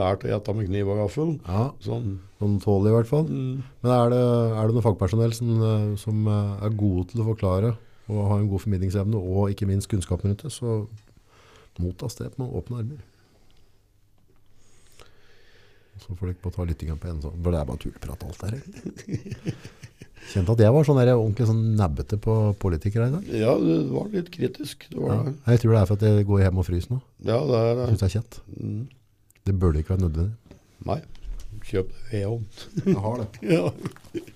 Speaker 2: Lært å gjette med kniv og gaffel.
Speaker 1: Ja,
Speaker 2: Sånn.
Speaker 1: sånn tåler i hvert fall.
Speaker 2: Mm.
Speaker 1: Men er det, er det noen fagpersonell som, eh, som eh, er gode til å forklare og har en god formidlingsevne, og ikke minst kunnskapen rundt det, så mottas det med åpne armer. Så får dere ikke bare ta litt grann på en sånn, for det er bare tullprat alt der. egentlig. Kjente at jeg var sånn der, ordentlig sånn nebbete på politikere i dag.
Speaker 2: Ja, det var litt kritisk. Det
Speaker 1: Ja.
Speaker 2: var, det.
Speaker 1: Jeg tror det er for at jeg går hjem og fryser nå.
Speaker 2: ja, det er
Speaker 1: Jeg synes det er kjent.
Speaker 2: Mm.
Speaker 1: Det burde ikke være nødvendig.
Speaker 2: Nei. Kjøp vedovn.
Speaker 1: Jeg har det.
Speaker 2: Ja.